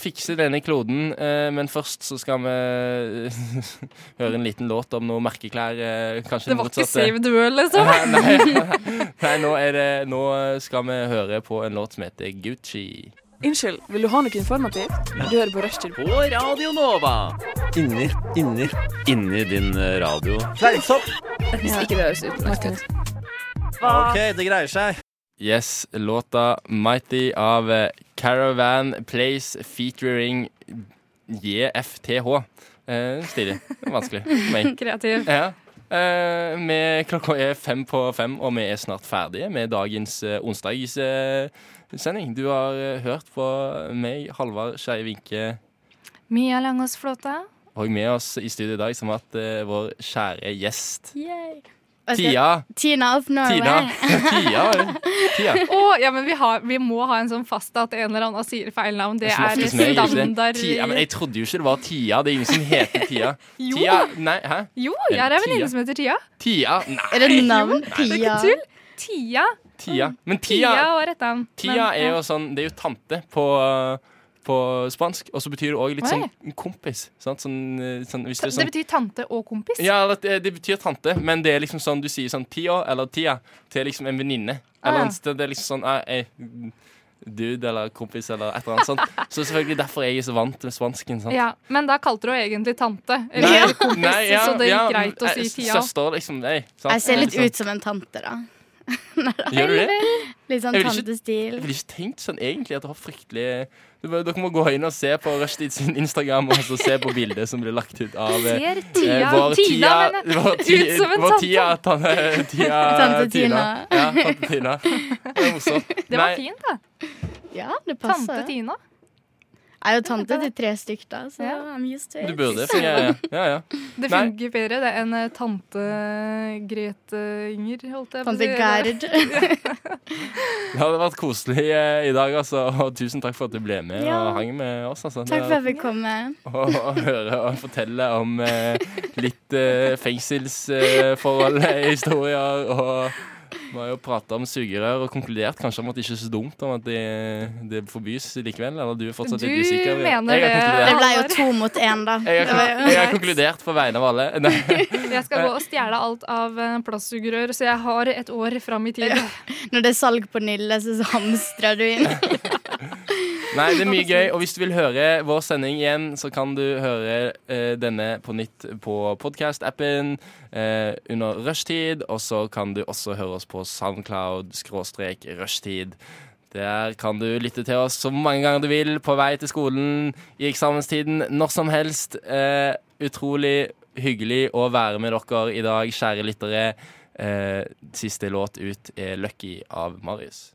fikse denne kloden, eh, men først så skal vi eh, høre en liten låt om noen merkeklær. eh, Kanskje Det var ikke motsatte. Save the World, liksom? Nei, nei, nei nå, er det, nå skal vi høre på en låt som heter Gucci. Unnskyld, vil du ha noe informativt? Du hører på Rushtid. På Radio Nova. Inni, inni. Inni din eh, radio. Fleinsopp. Hvis ikke det høres utmerket ut. OK, det greier seg. Yes, låta Mighty av eh, Caravan Place featuring JFTH. Eh, Stilig. Vanskelig for meg. Kreativ. Ja. Eh, vi- klokka er fem på fem, og vi er snart ferdige med dagens eh, onsdagssending. du har eh, hørt på meg, Halvard Skei Vinke. Mia Langås Flåta. Og med oss i studio i dag som har hatt eh, vår kjære gjest Og jeg skal- Tia. Tina of Norway. Tina. Tia, var det? Tia. Å, ja, men vi, har, vi må ha en sånn fast at en eller annen sier feil navn. Det Det som er liksom oftest meg, ikke det? standard Tia, ja, men jeg trodde jo ikke det var Tia. Det er ingen som heter Tia. Jo. Tia, nei, hæ? Jo, jeg er en venninne Tia. som heter Tia. Tia, nei, Er det navn? Pia? Tull. Tia. Tia. Men Tia Tia, var rett navn. Tia Men, er ja. jo sånn, det er jo tante på, på spansk, og så betyr det også litt sånn kompis. Sant? Sånn, eh, sånn, hvis det er Det sånn betyr tante og kompis. ja, eller at det, det betyr tante, men det er liksom sånn du sier sånn Tia eller Tia til liksom en venninne. Ah, ja. Eller en sted det er liksom sånn eh, eh, Dude eller kompis eller et eller annet sånt. Så selvfølgelig derfor jeg er så vant med spansken. Sant? Ja, men da kalte du henne egentlig tante. Eller Nei, kompis, nei, ja, så det ja, gikk greit å si eh, Tia. Søster, liksom. Nei, sant? Jeg ser litt Liksom. ut som en tante, da. Gjør du det? Litt sånn Jeg vil ikke- tantestil. Jeg ville ikke tenkt sånn egentlig at det har fryktelig Du bare- Dere må gå inn og se på Rushtid sin Instagram og så se på bildet som blir lagt ut av eh, Ser Tia, eh, vår Tina, Tia, mener jeg. vår Ti- ut som en vår tante. Tia, tan- Tia Tante Tina. Tina. Ja, tante Tina. Det er morsomt. Det var Nei, fint, da. Ja, det Tante passer. Tina. Jeg er jo tante til tre stykker, da, så Ja. I'm used to Du it. burde fungere. Ja, ja. Det Nei. fungerer bedre det enn eh, tante eh, Grete Inger, holdt jeg på å Tante si. Gerd. Det hadde vært koselig eh, i dag, altså. Og tusen takk for at du ble med Ja. og hang med oss, altså. Takk for at jeg fikk komme. å høre og fortelle om eh, litt eh, fengselsforhold, eh, historier og vi har jo prata om sugerør og konkludert kanskje om at det ikke er så dumt om at det, det forbys likevel. Eller du er fortsatt Du litt usikker. mener jeg har det. Det konkludert, ble jo to mot én, da. jeg Det har, var kon- jo jeg har konkludert på vegne av alle. Nei, Jeg skal gå Eh. og stjele alt av eh, plastsugerør, så jeg har et år fram i tid. Når det er salg på Nille, så hamstrer du inn. nei, det er mye gøy. Og hvis du vil høre vår sending igjen, så kan du høre eh, denne på nytt på podkast-appen eh, under rushtid. Og så kan du også høre oss på Soundcloud-rushtid. Der kan du lytte til oss så mange ganger du vil på vei til skolen, i eksamenstiden, når som helst. Eh, utrolig hyggelig å være med dere i dag, kjære lyttere. Eh, siste låt ut er 'Lucky' av Marius.